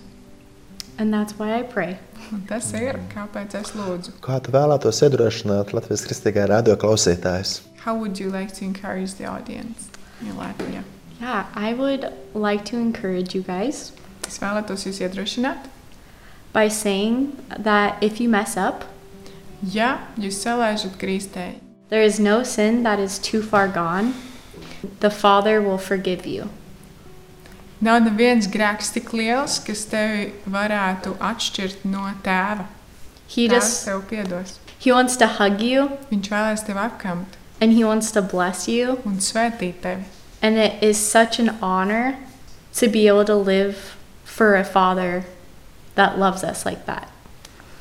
Speaker 7: And that's why I pray.
Speaker 3: Un tas ir, kāpēc es lūdzu.
Speaker 1: Kā tu vēlētos iedrošināt Latvijas kristīgā radio klausītājus?
Speaker 3: How would you like to encourage the audience? Jā, Latvijā.
Speaker 7: Yeah, I would like to encourage you guys
Speaker 3: Es vēlētos jūs iedrošināt.
Speaker 7: by saying that if you mess up,
Speaker 3: Ja jūs salēžat kristē,
Speaker 7: There is no sin that is too far gone. The Father will forgive you.
Speaker 3: nav neviens grēks tik liels, kas tevi varētu atšķirt no tēva.
Speaker 7: He
Speaker 3: Tēvs
Speaker 7: just
Speaker 3: tev piedos.
Speaker 7: he wants to hug you
Speaker 3: Viņš vēlēs tevi apkamt
Speaker 7: and he wants to bless you
Speaker 3: un svētīt tevi.
Speaker 7: and it is such an honor to be able to live for a father that loves us like that.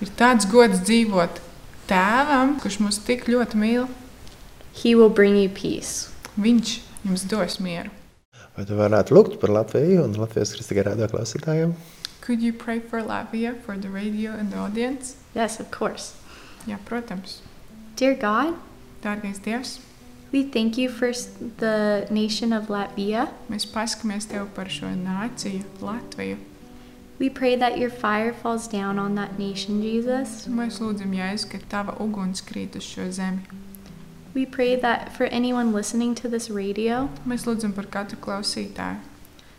Speaker 3: Ir tāds gods dzīvot tēvam, kurš mūs tik ļoti mīl.
Speaker 7: He will bring you peace.
Speaker 3: Viņš jums dos mieru.
Speaker 1: Vai tu varētu lūgt par Latviju un Latvijas kristīgā radio klausītājiem?
Speaker 3: Could you pray for Latvia, for the radio and the audience?
Speaker 7: Yes, of course.
Speaker 3: Jā, protams.
Speaker 7: Dear God,
Speaker 3: Dārgais Dievs,
Speaker 7: we thank you for s- the nation of Latvia.
Speaker 3: mēs paskamies Tev par šo nāciju, Latviju.
Speaker 7: We pray that your fire falls down on that nation, Jesus.
Speaker 3: Un Mēs lūdzam, Jēzu, ka Tava uguns krīt uz šo zemi.
Speaker 7: We pray that for anyone listening to this radio,
Speaker 3: Mēs lūdzam par katru klausītāju,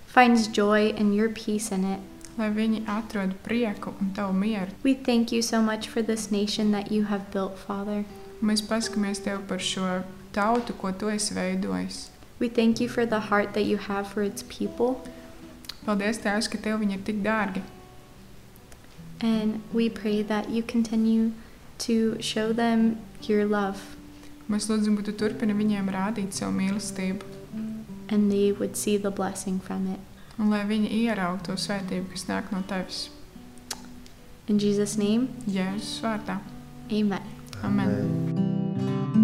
Speaker 7: finds joy and your peace in it.
Speaker 3: lai viņi atrod prieku un Tavu mieru.
Speaker 7: We thank you so much for this nation that you have built, Father.
Speaker 3: Un Mēs paskamies Tev par šo tautu, ko Tu esi veidojis.
Speaker 7: We thank you for the heart that you have for its people,
Speaker 3: Paldies, Tēvs, ka Tev viņi ir tik dārgi.
Speaker 7: and we pray that you continue to show them your love.
Speaker 3: Mēs lūdzam, ka tu turpini viņiem rādīt savu mīlestību,
Speaker 7: and they would see the blessing from it.
Speaker 3: un lai viņi ieraugtu to svētību, kas nāk no tevis.
Speaker 7: In Jesus' name,
Speaker 3: Jēzus vārdā.
Speaker 7: amen.
Speaker 3: Amen. Amen.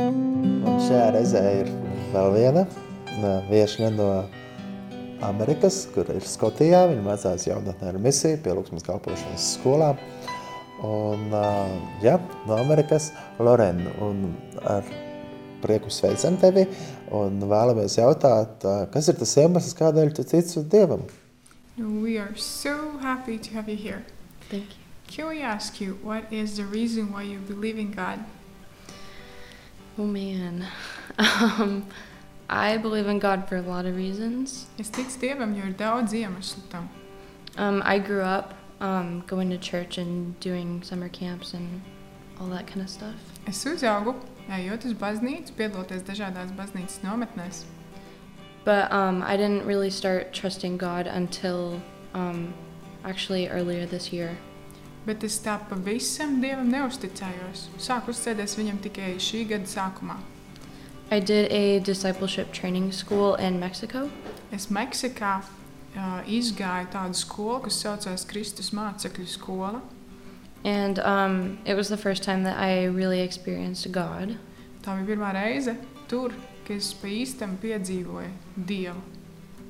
Speaker 1: Un šajā reizē ir vēl viena nā, viešņa no Amerikas, kur ir Skotijā. Viņa mācās jaunatnē ar misiju, pielūgsmes kalpošanas skolā. Un, ā, jā, no Amerikas, Loren, un ar prieku sveicam tevi. Un vēlamies jautāt, ā, kas ir tas iemesls, kādēļ tu tici Dievam?
Speaker 3: We are so happy to have you here.
Speaker 7: Thank you.
Speaker 3: Can we ask you what is the reason why you believe in God?
Speaker 8: Oh man. <laughs> Um, I believe in God for a lot of reasons.
Speaker 3: Es ticu Dievam, jo ir daudz iemeslu tam.
Speaker 8: Um, I grew up um, going to church and doing summer camps and all that kind of stuff.
Speaker 3: Es uzaugu, ejot uz baznīcu, piedaloties dažādās baznīcas nometnēs.
Speaker 8: But um, I didn't really start trusting God until um, actually earlier this year.
Speaker 3: Bet es tā pavisam Dievam neusticējos. Sāku uzticēties Viņam tikai šī gada sākumā.
Speaker 8: I did a discipleship training school in Mexico,
Speaker 3: Es Meksikā uh, izgāju tādu skolu, kas saucās Kristus mācekļu skola.
Speaker 8: and um, it was the first time that I really experienced God.
Speaker 3: Tā bija pirmā reize tur, kad es pa īstam piedzīvoju Dievu.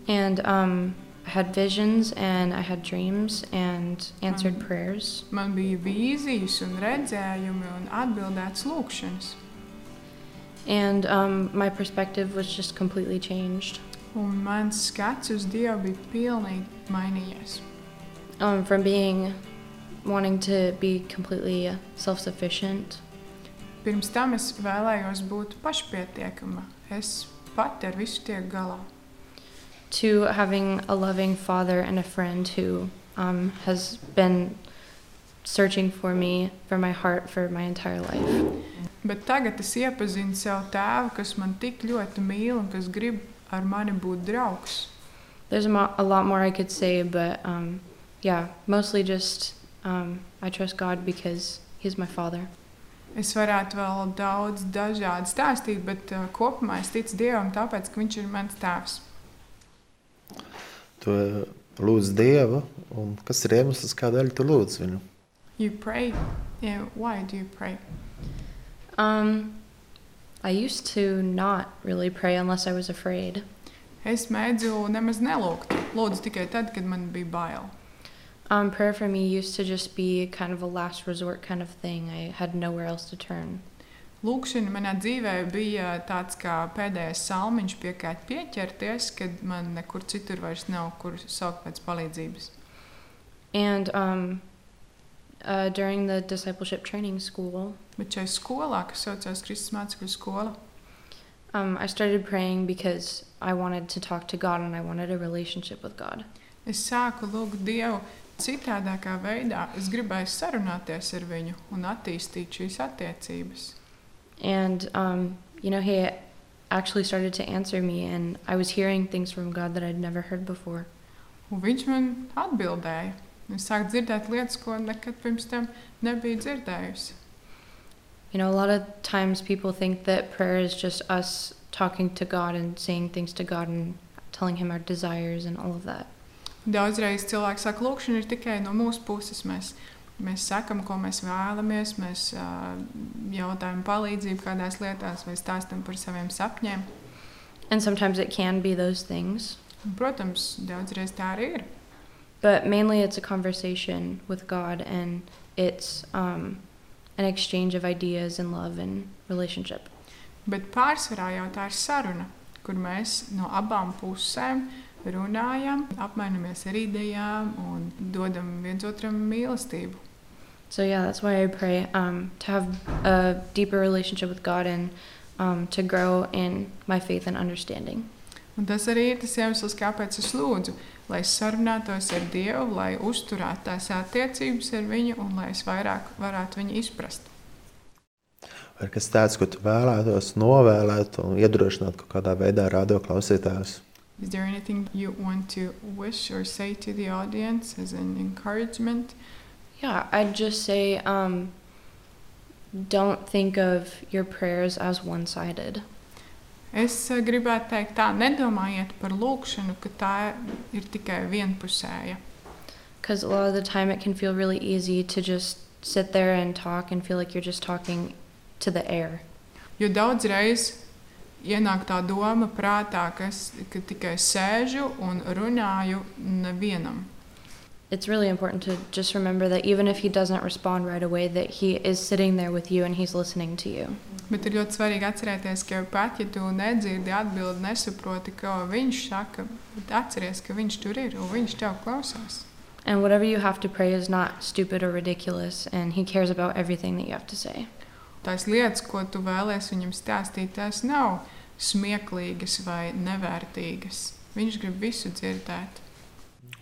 Speaker 8: And um, I had visions and I had dreams and answered
Speaker 3: Mhm.
Speaker 8: prayers.
Speaker 3: Man bija vīzijas, un redzējumi un atbildētas lūkšanas.
Speaker 8: And um, my perspective was just completely changed
Speaker 3: Un mans skats uz Dievu bija pilnīgi mainījies.
Speaker 8: um, from being wanting to be completely self sufficient
Speaker 3: Pirms tam es vēlējos būt pašpietiekama. Es pati ar visu tiek galā.
Speaker 8: to having a loving father and a friend who um, has been searching for me, for my heart, for my entire life.
Speaker 3: Bet tagad es iepazinu savu tēvu, kas man tik ļoti mīl un kas grib ar mani būt draugs.
Speaker 8: There's a, mo- a lot more I could say, but um, yeah, mostly just um, I trust God because He's my father.
Speaker 3: Es varētu vēl daudz dažādu stāstīt, bet uh, kopumā es ticu Dievam, tāpēc, ka Viņš ir mans tēvs.
Speaker 1: Tu ā, lūdz Dievu, un kas ir iemesls, kādēļ tu lūdz viņu?
Speaker 3: You pray. Yeah, why do you pray?
Speaker 8: Um, I used to not really pray unless I was afraid.
Speaker 3: Es mēdzu nemaz nelūgt. Lūdzu, tikai tad, kad man bija bail.
Speaker 8: Um, prayer for me used to just be kind of a last resort kind of thing. I had nowhere else to turn.
Speaker 3: Lūkšana manā dzīvē bija tāds kā pēdējais salmiņš, pie kā pieķerties, kad man nekur citur vairs nav, kur saukt pēc palīdzības.
Speaker 8: And um, uh, during the discipleship training school,
Speaker 3: Bet šai skolā, kas saucās Kristus mācekļu skola,
Speaker 8: um, I started praying because I wanted to talk to God and I wanted a relationship with God.
Speaker 3: es sāku lūgt Dievu citādākā veidā. Es gribēju sarunāties ar viņu un attīstīt šīs attiecības.
Speaker 8: And, um, you know, He actually started to answer me, and I was hearing things from God that I'd never heard before.
Speaker 3: Un viņš man atbildēja. Es sāku dzirdēt lietas, ko nekad pirms tam nebiju dzirdējusi.
Speaker 8: You know, a lot of times people think that prayer is just us talking to God and saying things to God and telling Him our desires and all of that.
Speaker 3: Daudzreiz cilvēks saka, lūkšana ir tikai no mūsu puses. Mēs, mēs sakām, ko mēs vēlamies, mēs ā, jautājam palīdzību kādās lietās, vai stāstam par saviem sapņiem.
Speaker 8: And sometimes it can be those things,
Speaker 3: Un, protams, daudzreiz tā arī ir.
Speaker 8: but mainly it's a conversation with God and it's um, an exchange of ideas and love and relationship.
Speaker 3: Bet pārsvarā jau tā ir saruna, kur mēs no abām pusēm runājam, apmainamies ar idejām un dodam viens otram mīlestību.
Speaker 8: So, yeah, that's why I pray um, to have a deeper relationship with God and um, to grow in my faith and understanding.
Speaker 3: Un tas arī ir tas iemesls, kāpēc es lūdzu, lai es sarunātos ar Dievu, lai uzturētu tās attiecības ar viņu un lai es vairāk varētu viņu izprast.
Speaker 1: Vai ir kas tāds, ko tu vēlētos, novēlēt un iedrošināt kaut kādā veidā radioklausītājus?
Speaker 3: Is there anything you want to wish or say to the audience as an encouragement?
Speaker 8: Yeah, I'd just say um, don't think of your prayers as one sided.
Speaker 3: Es eh, gribētu teikt, tā nedomājiet par lūkšanu, ka tā ir tikai vienpusēja.
Speaker 8: Because a lot of the time it can feel really easy to just sit there and talk and feel like you're just talking to the air.
Speaker 3: Jo daudz reizes ienāk tā doma prātā, ka es ka tikai sēžu un runāju nevienam.
Speaker 8: It's really important to just remember that even if he doesn't respond right away, that he is sitting there with you and he's listening to you.
Speaker 3: Bet ir ļoti svarīgi atcerēties, ka pat ja tu nedzirdi atbildi, nesaproti, ko viņš saka, bet atceries, ka viņš tur ir un viņš tev klausās.
Speaker 8: And whatever you have to pray is not stupid or ridiculous, and he cares about everything that you have to say.
Speaker 3: Tās lietas, ko tu vēlēsies viņam stāstīt, tās nav smieklīgas vai nevērtīgas. Viņš grib visu dzirdēt.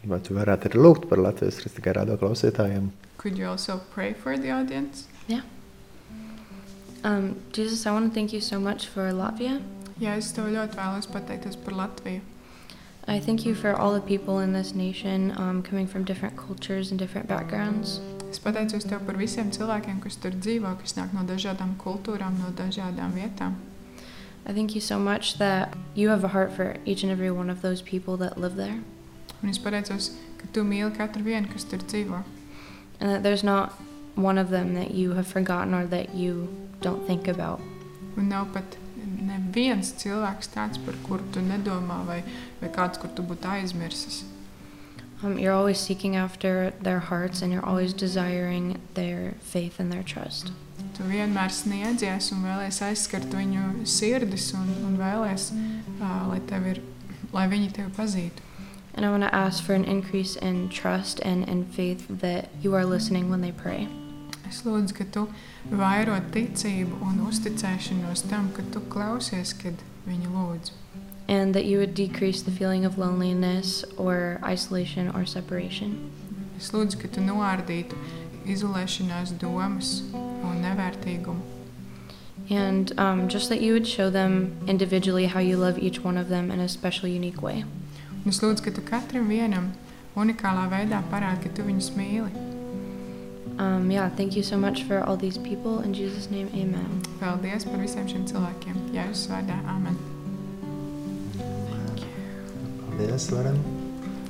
Speaker 1: Vai tu varētu arī lūgt par Latvijas kristīgā radioklausītājiem?
Speaker 3: Could you also pray for the audience?
Speaker 8: Um, Jesus, I want to thank you so much for Latvia.
Speaker 3: Jā, es tev ļoti vēlos pateikties par Latviju.
Speaker 8: I thank you for all the people in this nation um, coming from different cultures and different backgrounds.
Speaker 3: Es pateicos tev par visiem cilvēkiem, kas tur dzīvo, kas nāk no dažādām kultūrām, no dažādām vietām.
Speaker 8: I thank you so much that you have a heart for each and every one of those people that live there,
Speaker 3: Un es pateicos, ka tu mīli katru vienu, kas tur dzīvo.
Speaker 8: and that there's not one of them that you have forgotten or that you don't think about.
Speaker 3: Un nav pat neviens cilvēks tāds, par kuru tu nedomā, vai, vai kāds, kur tu būtu aizmirsis.
Speaker 8: Um, you're always seeking after their hearts and you're always desiring their faith and their trust.
Speaker 3: Tu vienmēr sniedzies un vēlēsies aizskart viņu sirdis, un, un vēlēsies, lai, tev ir- lai viņi tevi pazītu.
Speaker 8: And I want to ask for an increase in trust and in faith that you are listening when they pray.
Speaker 3: Es lūdzu, ka tu vairo ticību un uzticēšanos tam, ka tu klausies, kad viņi lūdz.
Speaker 8: and that you would decrease the feeling of loneliness or isolation or separation.
Speaker 3: Es lūdzu, ka tu noārdītu izolēšanās domas un nevērtīgumu.
Speaker 8: And um, just that you would show them individually how you love each one of them in a special, unique way.
Speaker 3: Un es lūdzu, ka tu katram vienam unikālā veidā parādi, ka tu viņus mīli.
Speaker 8: Um, yeah, thank you so much for all these people. In Jesus' name, amen.
Speaker 3: Paldies par visiem šiem cilvēkiem. Jā, jūs vārdā, amen.
Speaker 1: Paldies, Loren!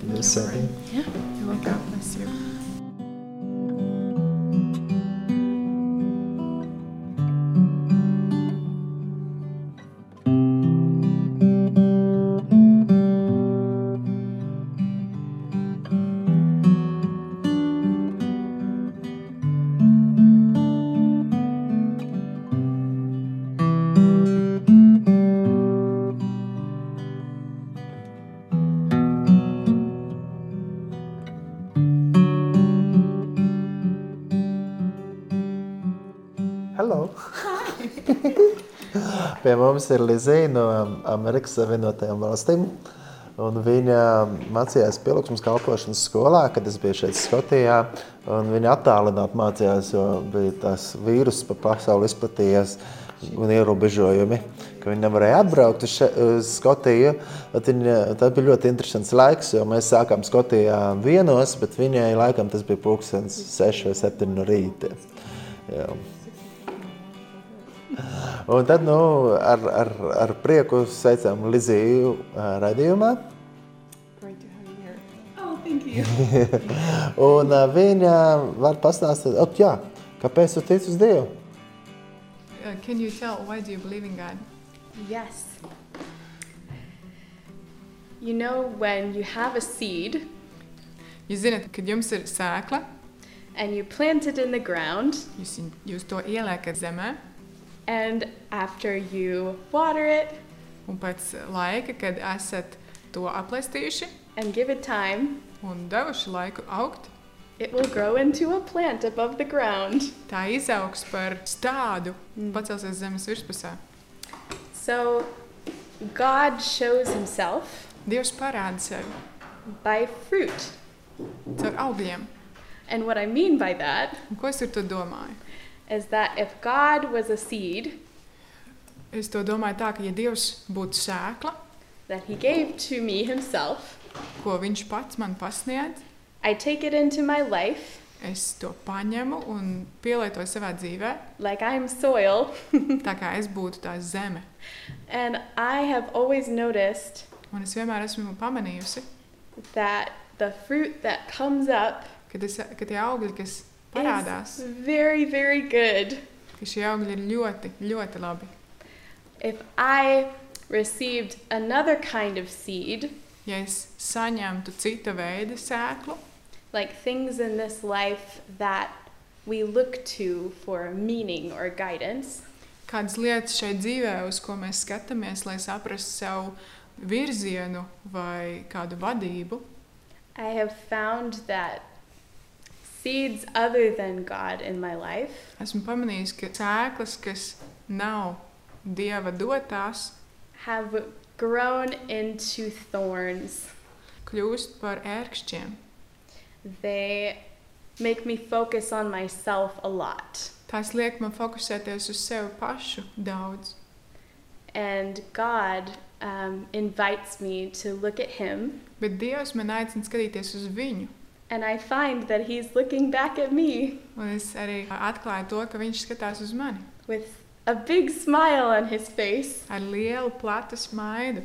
Speaker 1: Paldies, Sēdi!
Speaker 3: God bless you.
Speaker 1: Hello! <laughs> Pie mums ir Lizija no um, Amerikas Savienotajām valstīm. Un viņa mācījās pielūgsmes kalpošanas skolā, kad es biju šeit Skotijā. Un Viņa attālināti mācījās, jo bija tas vīruss pa pasauli izplatījies un ierobežojumi, ka viņi nevarēja atbraukt uz, še, uz Skotiju. Tad Viņa, tas bija ļoti interesants laiks, jo mēs sākām Skotijā vienos, bet viņai laikam tas bija pulkstens 6 vai 7 no rīta. Jā. Un tad nu, ar, ar, ar prieku sveicam Liziju ā, raidījumā. <laughs> Un ā, viņa var pastāstīt, "Ot, jā, kāpēc tu tici uz Dievu?
Speaker 3: Uh, can you tell why do you believe in God?
Speaker 9: Yes. You know, when you have a seed
Speaker 3: Jūs zināt, kad jums ir sēkla,
Speaker 9: and you plant it in the ground,
Speaker 3: jūs, viņ- jūs to ieliekat zemē,
Speaker 9: and after you water it
Speaker 3: un pēc laika, kad esat to aplēstījuši
Speaker 9: and give it time,
Speaker 3: un devuši laiku augt,
Speaker 9: it will grow into a plant above the ground.
Speaker 3: tā izaugs par stādu,
Speaker 9: Mm.
Speaker 3: pacelsies zemes virspusē.
Speaker 9: So, God shows himself
Speaker 3: Dievs parāda sevi
Speaker 9: by fruit.
Speaker 3: caur augļiem.
Speaker 9: And what I mean by that
Speaker 3: Un ko es ar to domāju?
Speaker 9: is that if God was a seed
Speaker 3: Es to domāju tā, ka ja Dievs būtu sēkla,
Speaker 9: that He gave to me Himself,
Speaker 3: ko viņš pats man pasniedz,
Speaker 9: I take it into my life
Speaker 3: es to paņemu un pielietoju savā dzīvē,
Speaker 9: like I'm soil. <laughs>
Speaker 3: tā kā es būtu tā zeme.
Speaker 9: And I have always noticed
Speaker 3: Un es vienmēr esmu pamanījusi,
Speaker 9: that the fruit that comes up
Speaker 3: ka, tas, ka tie augļi, kas
Speaker 9: is
Speaker 3: parādās,
Speaker 9: very, very good.
Speaker 3: ka šie augļi ir ļoti, ļoti labi.
Speaker 9: If I received another kind of seed,
Speaker 3: Ja es saņemtu cita veida sēklu,
Speaker 9: like things in this life that we look to for meaning or guidance,
Speaker 3: kādas lietas šeit dzīvē, uz ko mēs skatāmies, lai saprastu savu virzienu vai kādu vadību,
Speaker 9: I have found that seeds other than God in my life
Speaker 3: esmu pamanījis, ka sēklas, kas nav dieva dotās,
Speaker 9: have grown into thorns.
Speaker 3: kļūst par ērkšķiem.
Speaker 9: They make me focus on myself a lot.
Speaker 3: Tās liek man fokusēties uz sevi pašu daudz.
Speaker 9: And God um, invites me to look at Him,
Speaker 3: Bet Dievs man aicina skatīties uz viņu.
Speaker 9: and I find that He's looking back at me
Speaker 3: Un es arī atklāju to, ka viņš skatās uz mani
Speaker 9: with a big smile on His face
Speaker 3: ar lielu, platu smaidu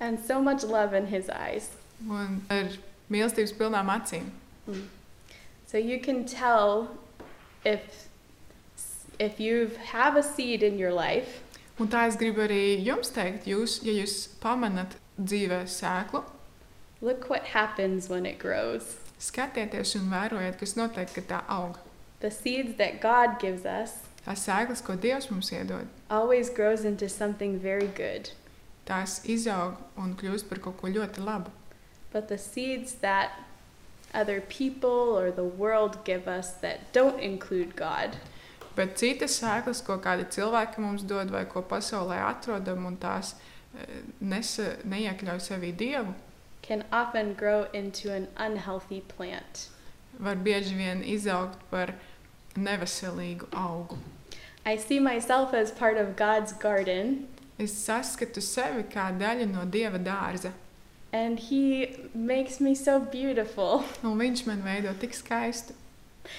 Speaker 9: and so much love in His eyes.
Speaker 3: un ar mīlestības pilnām acīm.
Speaker 9: So you can tell if if you have a seed in your life
Speaker 3: Un tā es gribu arī jums teikt, jūs, ja jūs pamanat dzīvē sēklu,
Speaker 9: Look what happens when it grows.
Speaker 3: skatieties un vērojiet, kas notiek, kad tā aug.
Speaker 9: The seeds that God gives us
Speaker 3: Tās sēklas, ko Dievs mums iedod,
Speaker 9: always grows into something very good,
Speaker 3: tās izaug un kļūst par kaut ko ļoti labu.
Speaker 9: but the seeds that other people or the world give us that don't include God
Speaker 3: Bet citas sēklas, ko kādi cilvēki mums dod vai ko pasaulē atrodam, un tās eh, nesa, neiekļauj sevī dievu,
Speaker 9: can often grow into an unhealthy plant.
Speaker 3: var bieži vien izaugt par neveselīgu augu.
Speaker 9: I see myself as part of God's garden,
Speaker 3: Es saskatu sevi kā daļu no dieva dārza,
Speaker 9: and He makes me so beautiful. <laughs>
Speaker 3: un viņš man veido tik skaistu.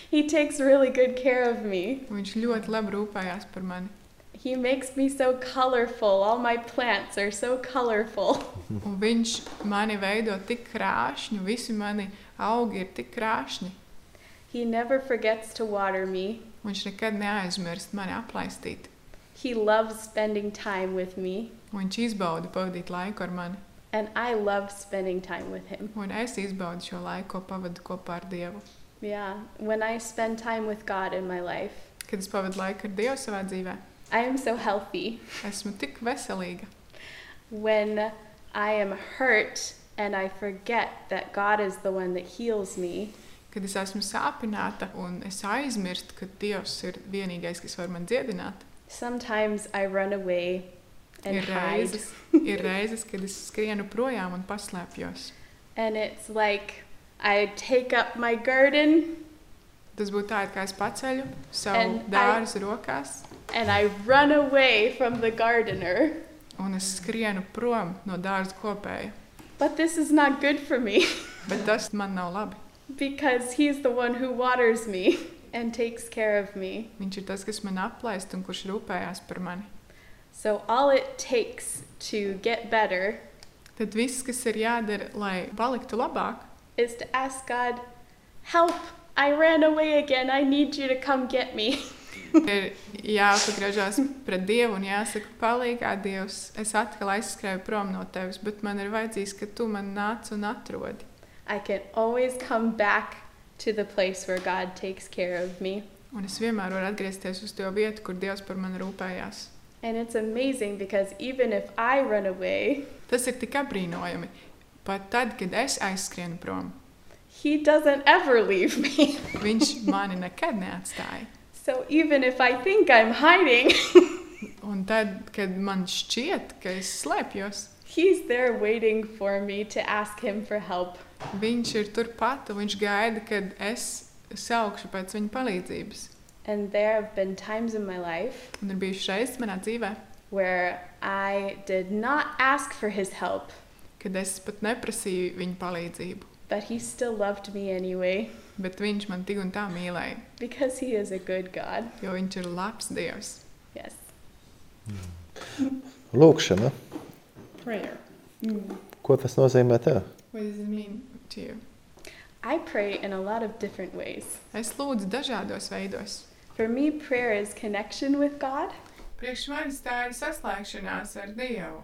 Speaker 9: He takes really good care of me.
Speaker 3: Viņš ļoti labi rūpējās par mani.
Speaker 9: He makes me so colorful. All my plants are so colorful. <laughs>
Speaker 3: Un viņš mani veido tik krāšņu, visi mani augi ir tik krāšņi.
Speaker 9: He never forgets to water me.
Speaker 3: Viņš nekad neaizmirst mani aplaistīt.
Speaker 9: He loves spending time with me,
Speaker 3: Viņš izbauda pavadīt laiku ar mani,
Speaker 9: and I love spending time with him.
Speaker 3: un es izbaudu šo laiku, ko pavadu kopā ar Dievu.
Speaker 9: Yeah, when I spend time with God in my life,
Speaker 3: Kad es pavadu laiku ar Dievu savā dzīvē,
Speaker 9: I am so healthy.
Speaker 3: esmu tik veselīga.
Speaker 9: When I am hurt and I forget that God is the one that heals me,
Speaker 3: Kad es esmu sāpināta un es aizmirstu, ka Dievs ir vienīgais, kas var man dziedināt,
Speaker 9: sometimes I run away and
Speaker 3: ir
Speaker 9: hide.
Speaker 3: reizes,
Speaker 9: <laughs>
Speaker 3: ir reizes, kad es skrienu projām un paslēpjos.
Speaker 9: And it's like I take up my garden
Speaker 3: Tas būtu tā, it kā es paceļu savu
Speaker 9: And I-
Speaker 3: dārzu rokās
Speaker 9: and I run away from the gardener,
Speaker 3: un es skrienu prom no dārza kopēja.
Speaker 9: but this is not good for me. <laughs>
Speaker 3: Bet tas man nav labi.
Speaker 9: Because he's the one who waters me and takes care of me.
Speaker 3: Viņš ir tas, kas man aplaist un kurš rūpējās par mani.
Speaker 9: So all it takes to get better
Speaker 3: Tad viss, kas ir jādara, lai paliktu labāk,
Speaker 9: is to ask God, Help! I ran away again. I need you to come get me. <laughs>
Speaker 3: ir jāpagriežās pret Dievu un jāsaka, palīgā Dievs, es atkal aizskrēju prom no tevis, bet man ir vajadzīgs, ka tu man nāc un atrodi.
Speaker 9: I can always come back to the place where God takes care of me.
Speaker 3: Un es vienmēr varu atgriezties uz to vietu, kur Dievs par mani rūpējās.
Speaker 9: And it's amazing because even if I run away,
Speaker 3: Tas ir tik apbrīnojami. Pat tad, kad es aizskrienu prom,
Speaker 9: he doesn't ever leave me. <laughs>
Speaker 3: viņš mani nekad neatstāja.
Speaker 9: So even if I think I'm hiding, <laughs>
Speaker 3: Un tad, kad man šķiet, ka es slēpjos,
Speaker 9: he's there waiting for me to ask him for help.
Speaker 3: viņš ir turpat, un viņš gaida, kad es saukšu pēc viņa palīdzības.
Speaker 9: And there have been times in my life
Speaker 3: Un ir bijušas reizes manā dzīvē,
Speaker 9: where I did not ask for his help,
Speaker 3: kad es pat neprasīju viņa palīdzību,
Speaker 9: but he still loved me anyway
Speaker 3: bet viņš man tik un tā mīlēja,
Speaker 9: because he is a good God.
Speaker 3: jo viņš ir labs Dievs.
Speaker 9: Yes.
Speaker 10: Lūkšana.
Speaker 2: Prayer.
Speaker 10: Ko tas nozīmē tev?
Speaker 3: What does it mean to you?
Speaker 9: I pray in a lot of different ways.
Speaker 3: Es lūdzu dažādos veidos.
Speaker 9: For me, prayer is connection with God,
Speaker 3: Priekš manis tā ir saslēgšanās ar Dievu,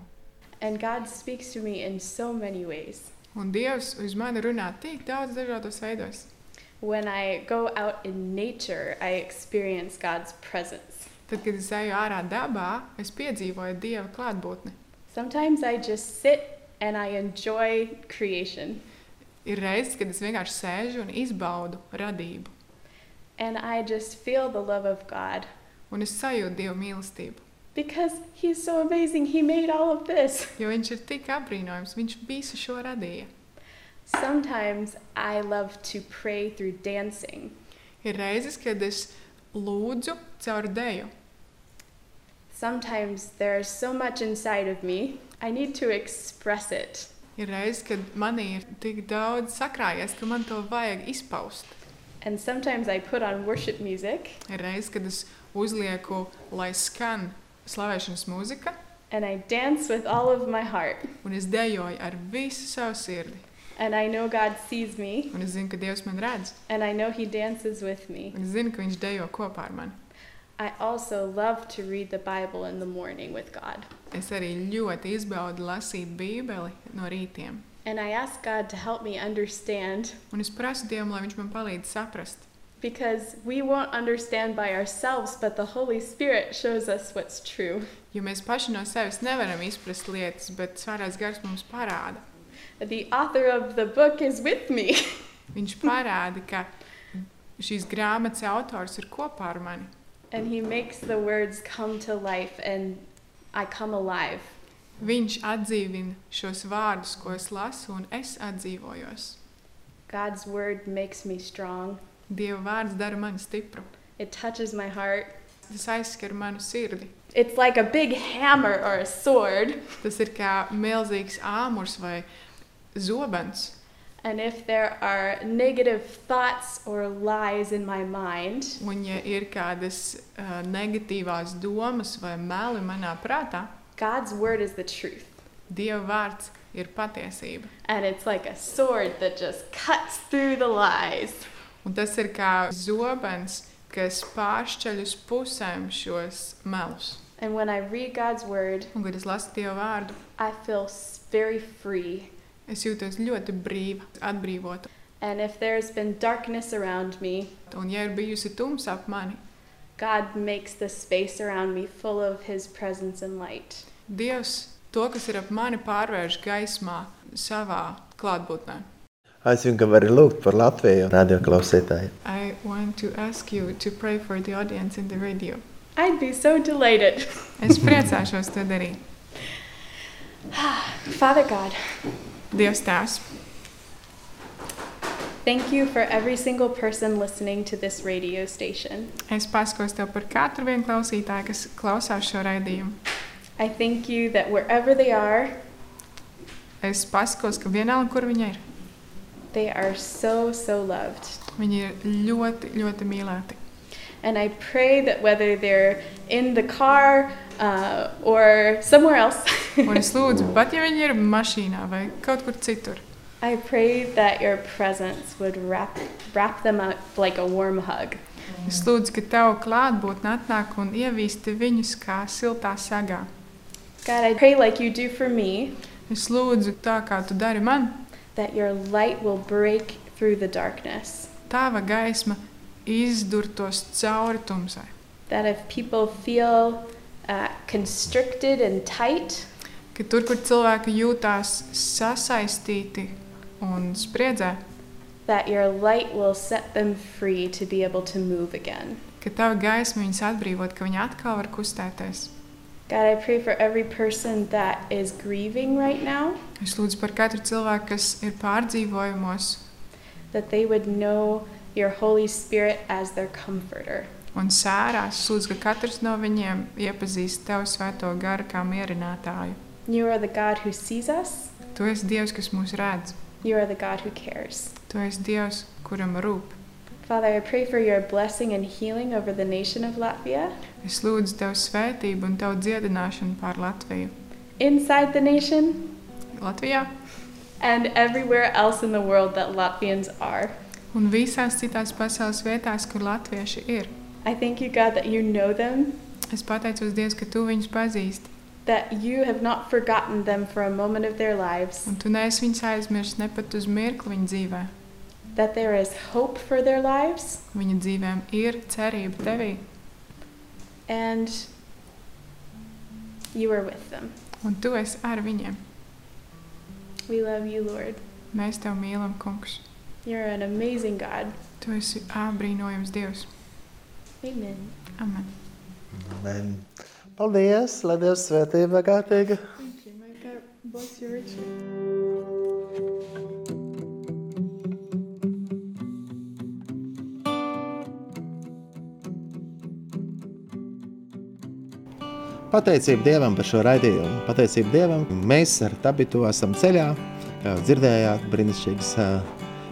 Speaker 9: and God speaks to me in so many ways.
Speaker 3: un Dievs uz mani runā tik daudz dažādos veidos.
Speaker 9: When I go out in nature, I experience God's presence.
Speaker 3: Tad, kad es eju ārā dabā, es piedzīvoju Dieva klātbūtni.
Speaker 9: Sometimes I just sit and I enjoy creation,
Speaker 3: Ir reizes, kad es vienkārši sēžu un izbaudu radību,
Speaker 9: and I just feel the love of God
Speaker 3: un es sajūtu Dieva mīlestību.
Speaker 9: because He's so amazing. He made all of this.
Speaker 3: Jo Viņš ir tik apbrīnojams, Viņš visu šo radīja.
Speaker 9: Sometimes I love to pray through dancing.
Speaker 3: Ir reizes, kad es lūdzu caur dēju.
Speaker 9: Sometimes there is so much inside of me, I need to express it.
Speaker 3: Ir reizes, kad manī ir tik daudz sakrājies, ka man to vajag izpaust.
Speaker 9: And sometimes I put on worship music
Speaker 3: Ir reizes, kad es uzlieku, lai skan slavēšanas mūzika,
Speaker 9: and I dance with all of my heart.
Speaker 3: un es dejoju ar visu savu sirdi.
Speaker 9: And I know God sees me,
Speaker 3: Un es zinu, ka Dievs man redz,
Speaker 9: and I know He dances with me.
Speaker 3: un es zinu, ka Viņš dejo kopā ar mani.
Speaker 9: I also love to read the Bible in the morning with God.
Speaker 3: Es arī ļoti izbaudu lasīt Bībeli no rītiem.
Speaker 9: And I ask God to help me understand
Speaker 3: Un es prasu Dievam, lai Viņš man palīdz saprast.
Speaker 9: because we won't understand by ourselves, but the Holy Spirit shows us what's true.
Speaker 3: Jo mēs paši no sevis nevaram izprast lietas, bet Svētais Gars mums parāda.
Speaker 9: The author of the book is with me. <laughs>
Speaker 3: Viņš parāda, ka šīs grāmatas autors ir kopā ar mani.
Speaker 9: And he makes the words come to life, and I come alive.
Speaker 3: Viņš atdzīvina šos vārdus, ko es lasu, un es atdzīvojos.
Speaker 9: God's word makes me strong.
Speaker 3: Dieva vārds dara mani stipru.
Speaker 9: It touches my heart.
Speaker 3: Tas aizskar manu sirdi.
Speaker 9: It's like a big hammer or a sword.
Speaker 3: Tas ir kā milzīgs āmurs vai zobens.
Speaker 9: And if there are negative thoughts or lies in my mind,
Speaker 3: Un, ja ir kādas uh, negatīvās domas vai meli manā prātā,
Speaker 9: God's word is the truth.
Speaker 3: Dieva vārds ir patiesība.
Speaker 9: And it's like a sword that just cuts through the lies.
Speaker 3: Un tas ir kā zobens, kas pāršķeļ uz pusēm šos melus.
Speaker 9: And when I read God's word,
Speaker 3: Un, kad es lasu Dieva vārdu,
Speaker 9: I feel s- very free.
Speaker 3: es jūtos ļoti brīva, atbrīvota.
Speaker 9: And if there's been darkness around me,
Speaker 3: Un, ja ir bijusi tumsa ap mani,
Speaker 9: God makes the space around me full of His presence and light.
Speaker 3: Dievs to, kas ir ap mani, pārvērš gaismā savā klātbūtnē.
Speaker 10: Es zinu, ka vari lūgt par Latviju radio klausītāju.
Speaker 3: I want to ask you to pray for the audience in the radio.
Speaker 9: I'd be so delighted.
Speaker 3: Es priecāšos to darīt.
Speaker 9: <laughs> Father God,
Speaker 3: Dievs tās.
Speaker 9: thank you for every single person listening to this radio station.
Speaker 3: Es pasakos tev par katru vienu klausītāju, kas klausās šo raidījumu.
Speaker 9: I thank you that wherever they are,
Speaker 3: Es pasakos, ka vienalga, kur viņa ir,
Speaker 9: they are so, so loved.
Speaker 3: viņi ir ļoti, ļoti mīlēti.
Speaker 9: And I pray that whether they're in the car uh, or somewhere else,
Speaker 3: Un es lūdzu, pat ja viņi ir mašīnā vai kaut kur citur,
Speaker 9: <laughs> I pray that your presence would wrap, wrap them up like a warm hug.
Speaker 3: es lūdzu, ka tev klātbūtne atnāk un ievīsti viņus kā siltā sagā.
Speaker 9: God, I pray like you do for me,
Speaker 3: Es lūdzu, tā kā tu dari man,
Speaker 9: that your light will break through the darkness.
Speaker 3: tava gaisma izdurtos cauri tumsai.
Speaker 9: That if people feel uh, constricted and tight,
Speaker 3: Ka tur, kur cilvēki jūtās sasaistīti un spriedzē,
Speaker 9: that your light will set them free to be able to move again.
Speaker 3: ka tava gaisma viņus atbrīvot, ka viņi atkal var kustēties.
Speaker 9: God, I pray for every person that is grieving right now,
Speaker 3: Es lūdzu par katru cilvēku, kas ir pārdzīvojumos,
Speaker 9: that they would know your Holy Spirit as their comforter.
Speaker 3: un sērā. Es lūdzu, ka katrs no viņiem iepazīst tevu svēto garu kā mierinātāju.
Speaker 9: You are the God who sees us.
Speaker 3: Tu esi Dievs, kas mūs redz.
Speaker 9: You are the God who cares.
Speaker 3: Tu esi Dievs, kuram rūp.
Speaker 9: Father, I pray for your blessing and healing over the nation of Latvia,
Speaker 3: Es lūdzu tev svētību un tev dziedināšanu pār Latviju.
Speaker 9: inside the nation,
Speaker 3: Latvijā
Speaker 9: and everywhere else in the world that Latvians are.
Speaker 3: un visās citās pasaules vietās, kur latvieši ir.
Speaker 9: I thank you, God, that you know them,
Speaker 3: Es pateicos Dievam, ka tu viņus pazīsti,
Speaker 9: that you have not forgotten them for a moment of their lives,
Speaker 3: un tu neesi viņus aizmirsis ne pat uz mirkli viņa dzīvē.
Speaker 9: that there is hope for their lives,
Speaker 3: Viņa dzīvēm ir cerība tevī,
Speaker 9: and you are with them.
Speaker 3: un tu esi ar viņiem.
Speaker 9: We love you, Lord.
Speaker 3: Mēs tev mīlam, kungs.
Speaker 9: You're an amazing God.
Speaker 3: Tu esi apbrīnojams Dievs.
Speaker 9: Amen.
Speaker 3: Amen.
Speaker 1: Amen. Paldies, lai Dievs svētība kārtīgi.
Speaker 11: Thank you. May God bless you richly.
Speaker 1: Pateicība Dievam par šo raidījumu. Pateicība Dievam. Mēs ar Tabitu esam ceļā. Kā jau dzirdējāt, brīnišķīgas ā,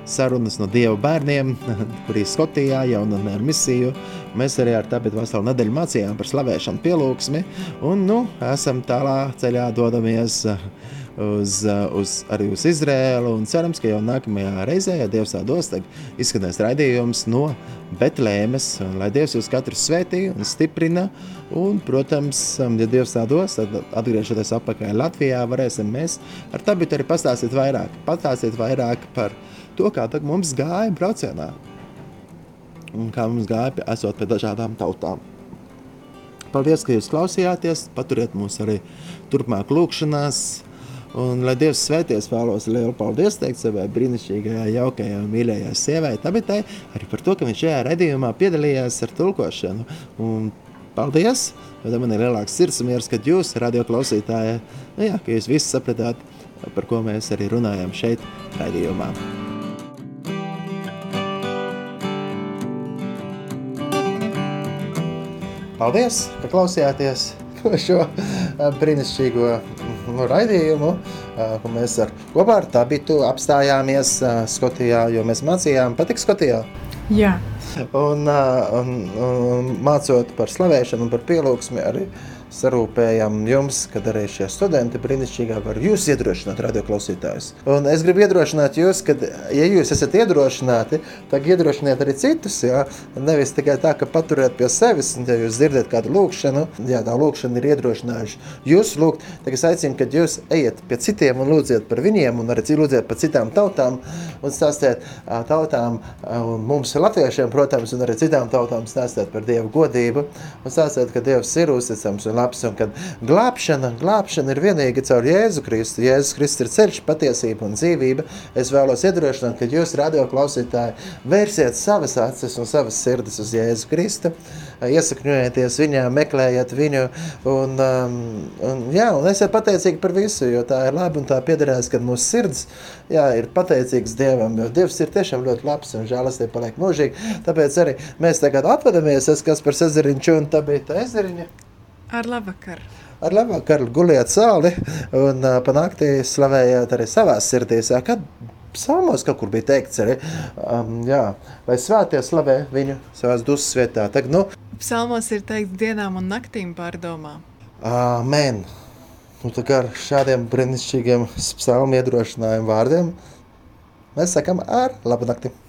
Speaker 1: sarunas no Dieva bērniem, <laughs> kurī Skotijā jaunatnē ar misiju. Mēs arī ar Tabitu veselu nedēļu mācījām par slavēšanu pielūgsmi. Un, nu, esam tālā ceļā dodamies ā, uz, ā, uz, arī uz Izrēlu. Un cerams, ka jau nākamajā reizē, ja Dievs tā dos, tad izskanēs raidījums no Betlēmes. Un Lai Dievs jūs katru svētī un stiprina. Un, protams, um, ja Dievs tā dos, tad atgriežoties atpakaļ Latvijā, varēsim mēs ar tabu arī pastāstīt vairāk. Pastāstīt vairāk par to, kā tad mums gāja braucienā. Un kā mums gāja, pie- esot pie dažādām tautām. Paldies, ka jūs klausījāties. Paturiet mūs arī turpmāk lūkšanās. Un, lai Dievs svēties, vēlos lielu paldies teikt savai brīnišķīgajai, jaukajai un mīļajai sievai, Tabitai, arī par to, ka viņš šajā redzējumā piedalījās ar tulkošanu. Un paldies! Tad man ir lielāks sirds mieres, kad jūs, radio klausītāji, nu jā, ka jūs visi sapratāt, par ko mēs arī runājam šeit, redzējumā. Paldies, ka klausījāties <laughs> šo eh, brīnišķīgo mm, raidījumu, eh, ko mēs ar kopā ar Tabitu apstājāmies eh, Skotijā, jo mēs mācījām patikt Skotijā.
Speaker 3: Jā,
Speaker 1: Un, ā, un, un mācot par slavēšanu un par pielūgsmi, arī sarūpējam jums, kad arī šie studenti brīnišķīgā var jūs iedrošināt, radioklausītājus. Un es gribu iedrošināt jūs, ka, ja jūs esat iedrošināti, tad iedrošiniet arī citus. Jā. Nevis tikai tā, ka paturiet pie sevis, un ja jūs dzirdat kādu lūkšanu, jā, tā lūkšana ir iedrošinājuši jūs lūgt, tad es aicinu, ka jūs ejiet pie citiem un lūdziet par viņiem, un arī ci- lūdziet par citām tautām, un stāstiet ā, tautām, ā, un mums latviešiem, protams, un arī citām tautām stāstiet par Dievu godību, un stāstiet, ka Dievs ir uzticams un labs, un ka glābšana, glābšana ir vienīgi caur Jēzu Kristu. Jēzus Kristus ir ceļš, patiesība un dzīvība. Es vēlos iedrošināt, ka jūs, radio klausītāji, vērsiet savas acis un savas sirdis uz Jēzu Kristu, iesakņojieties viņā, meklējiet viņu, un, um, un, jā, un esiet pateicīgi par visu, jo tā ir labi un tā piederēs, kad mūsu sirds jā, ir pateicīgs Dievam, jo Dievs ir tiešām ļoti labs un žēlastība paliek mūžīgi. Tāpēc arī mēs tagad atvadamies, es kas par Sezariņu un tā bija tā ezeriņa.
Speaker 5: Ar labvakar.
Speaker 1: Ar labu vakaru guliet sāli un uh, panāktī slavējiet arī savā sirdī. Sā, Kad psalmos kaut kur bija teikts arī, um, jā, lai svētie slavē viņu savās dusmas vietā. Tagad, nu,
Speaker 5: Psalmos ir teikts dienām un naktīm pārdomā.
Speaker 1: Amen. Nu, tā kā ar šādiem brīnišķīgiem psalmu iedrošinājumu vārdiem mēs sakām ar labu nakti.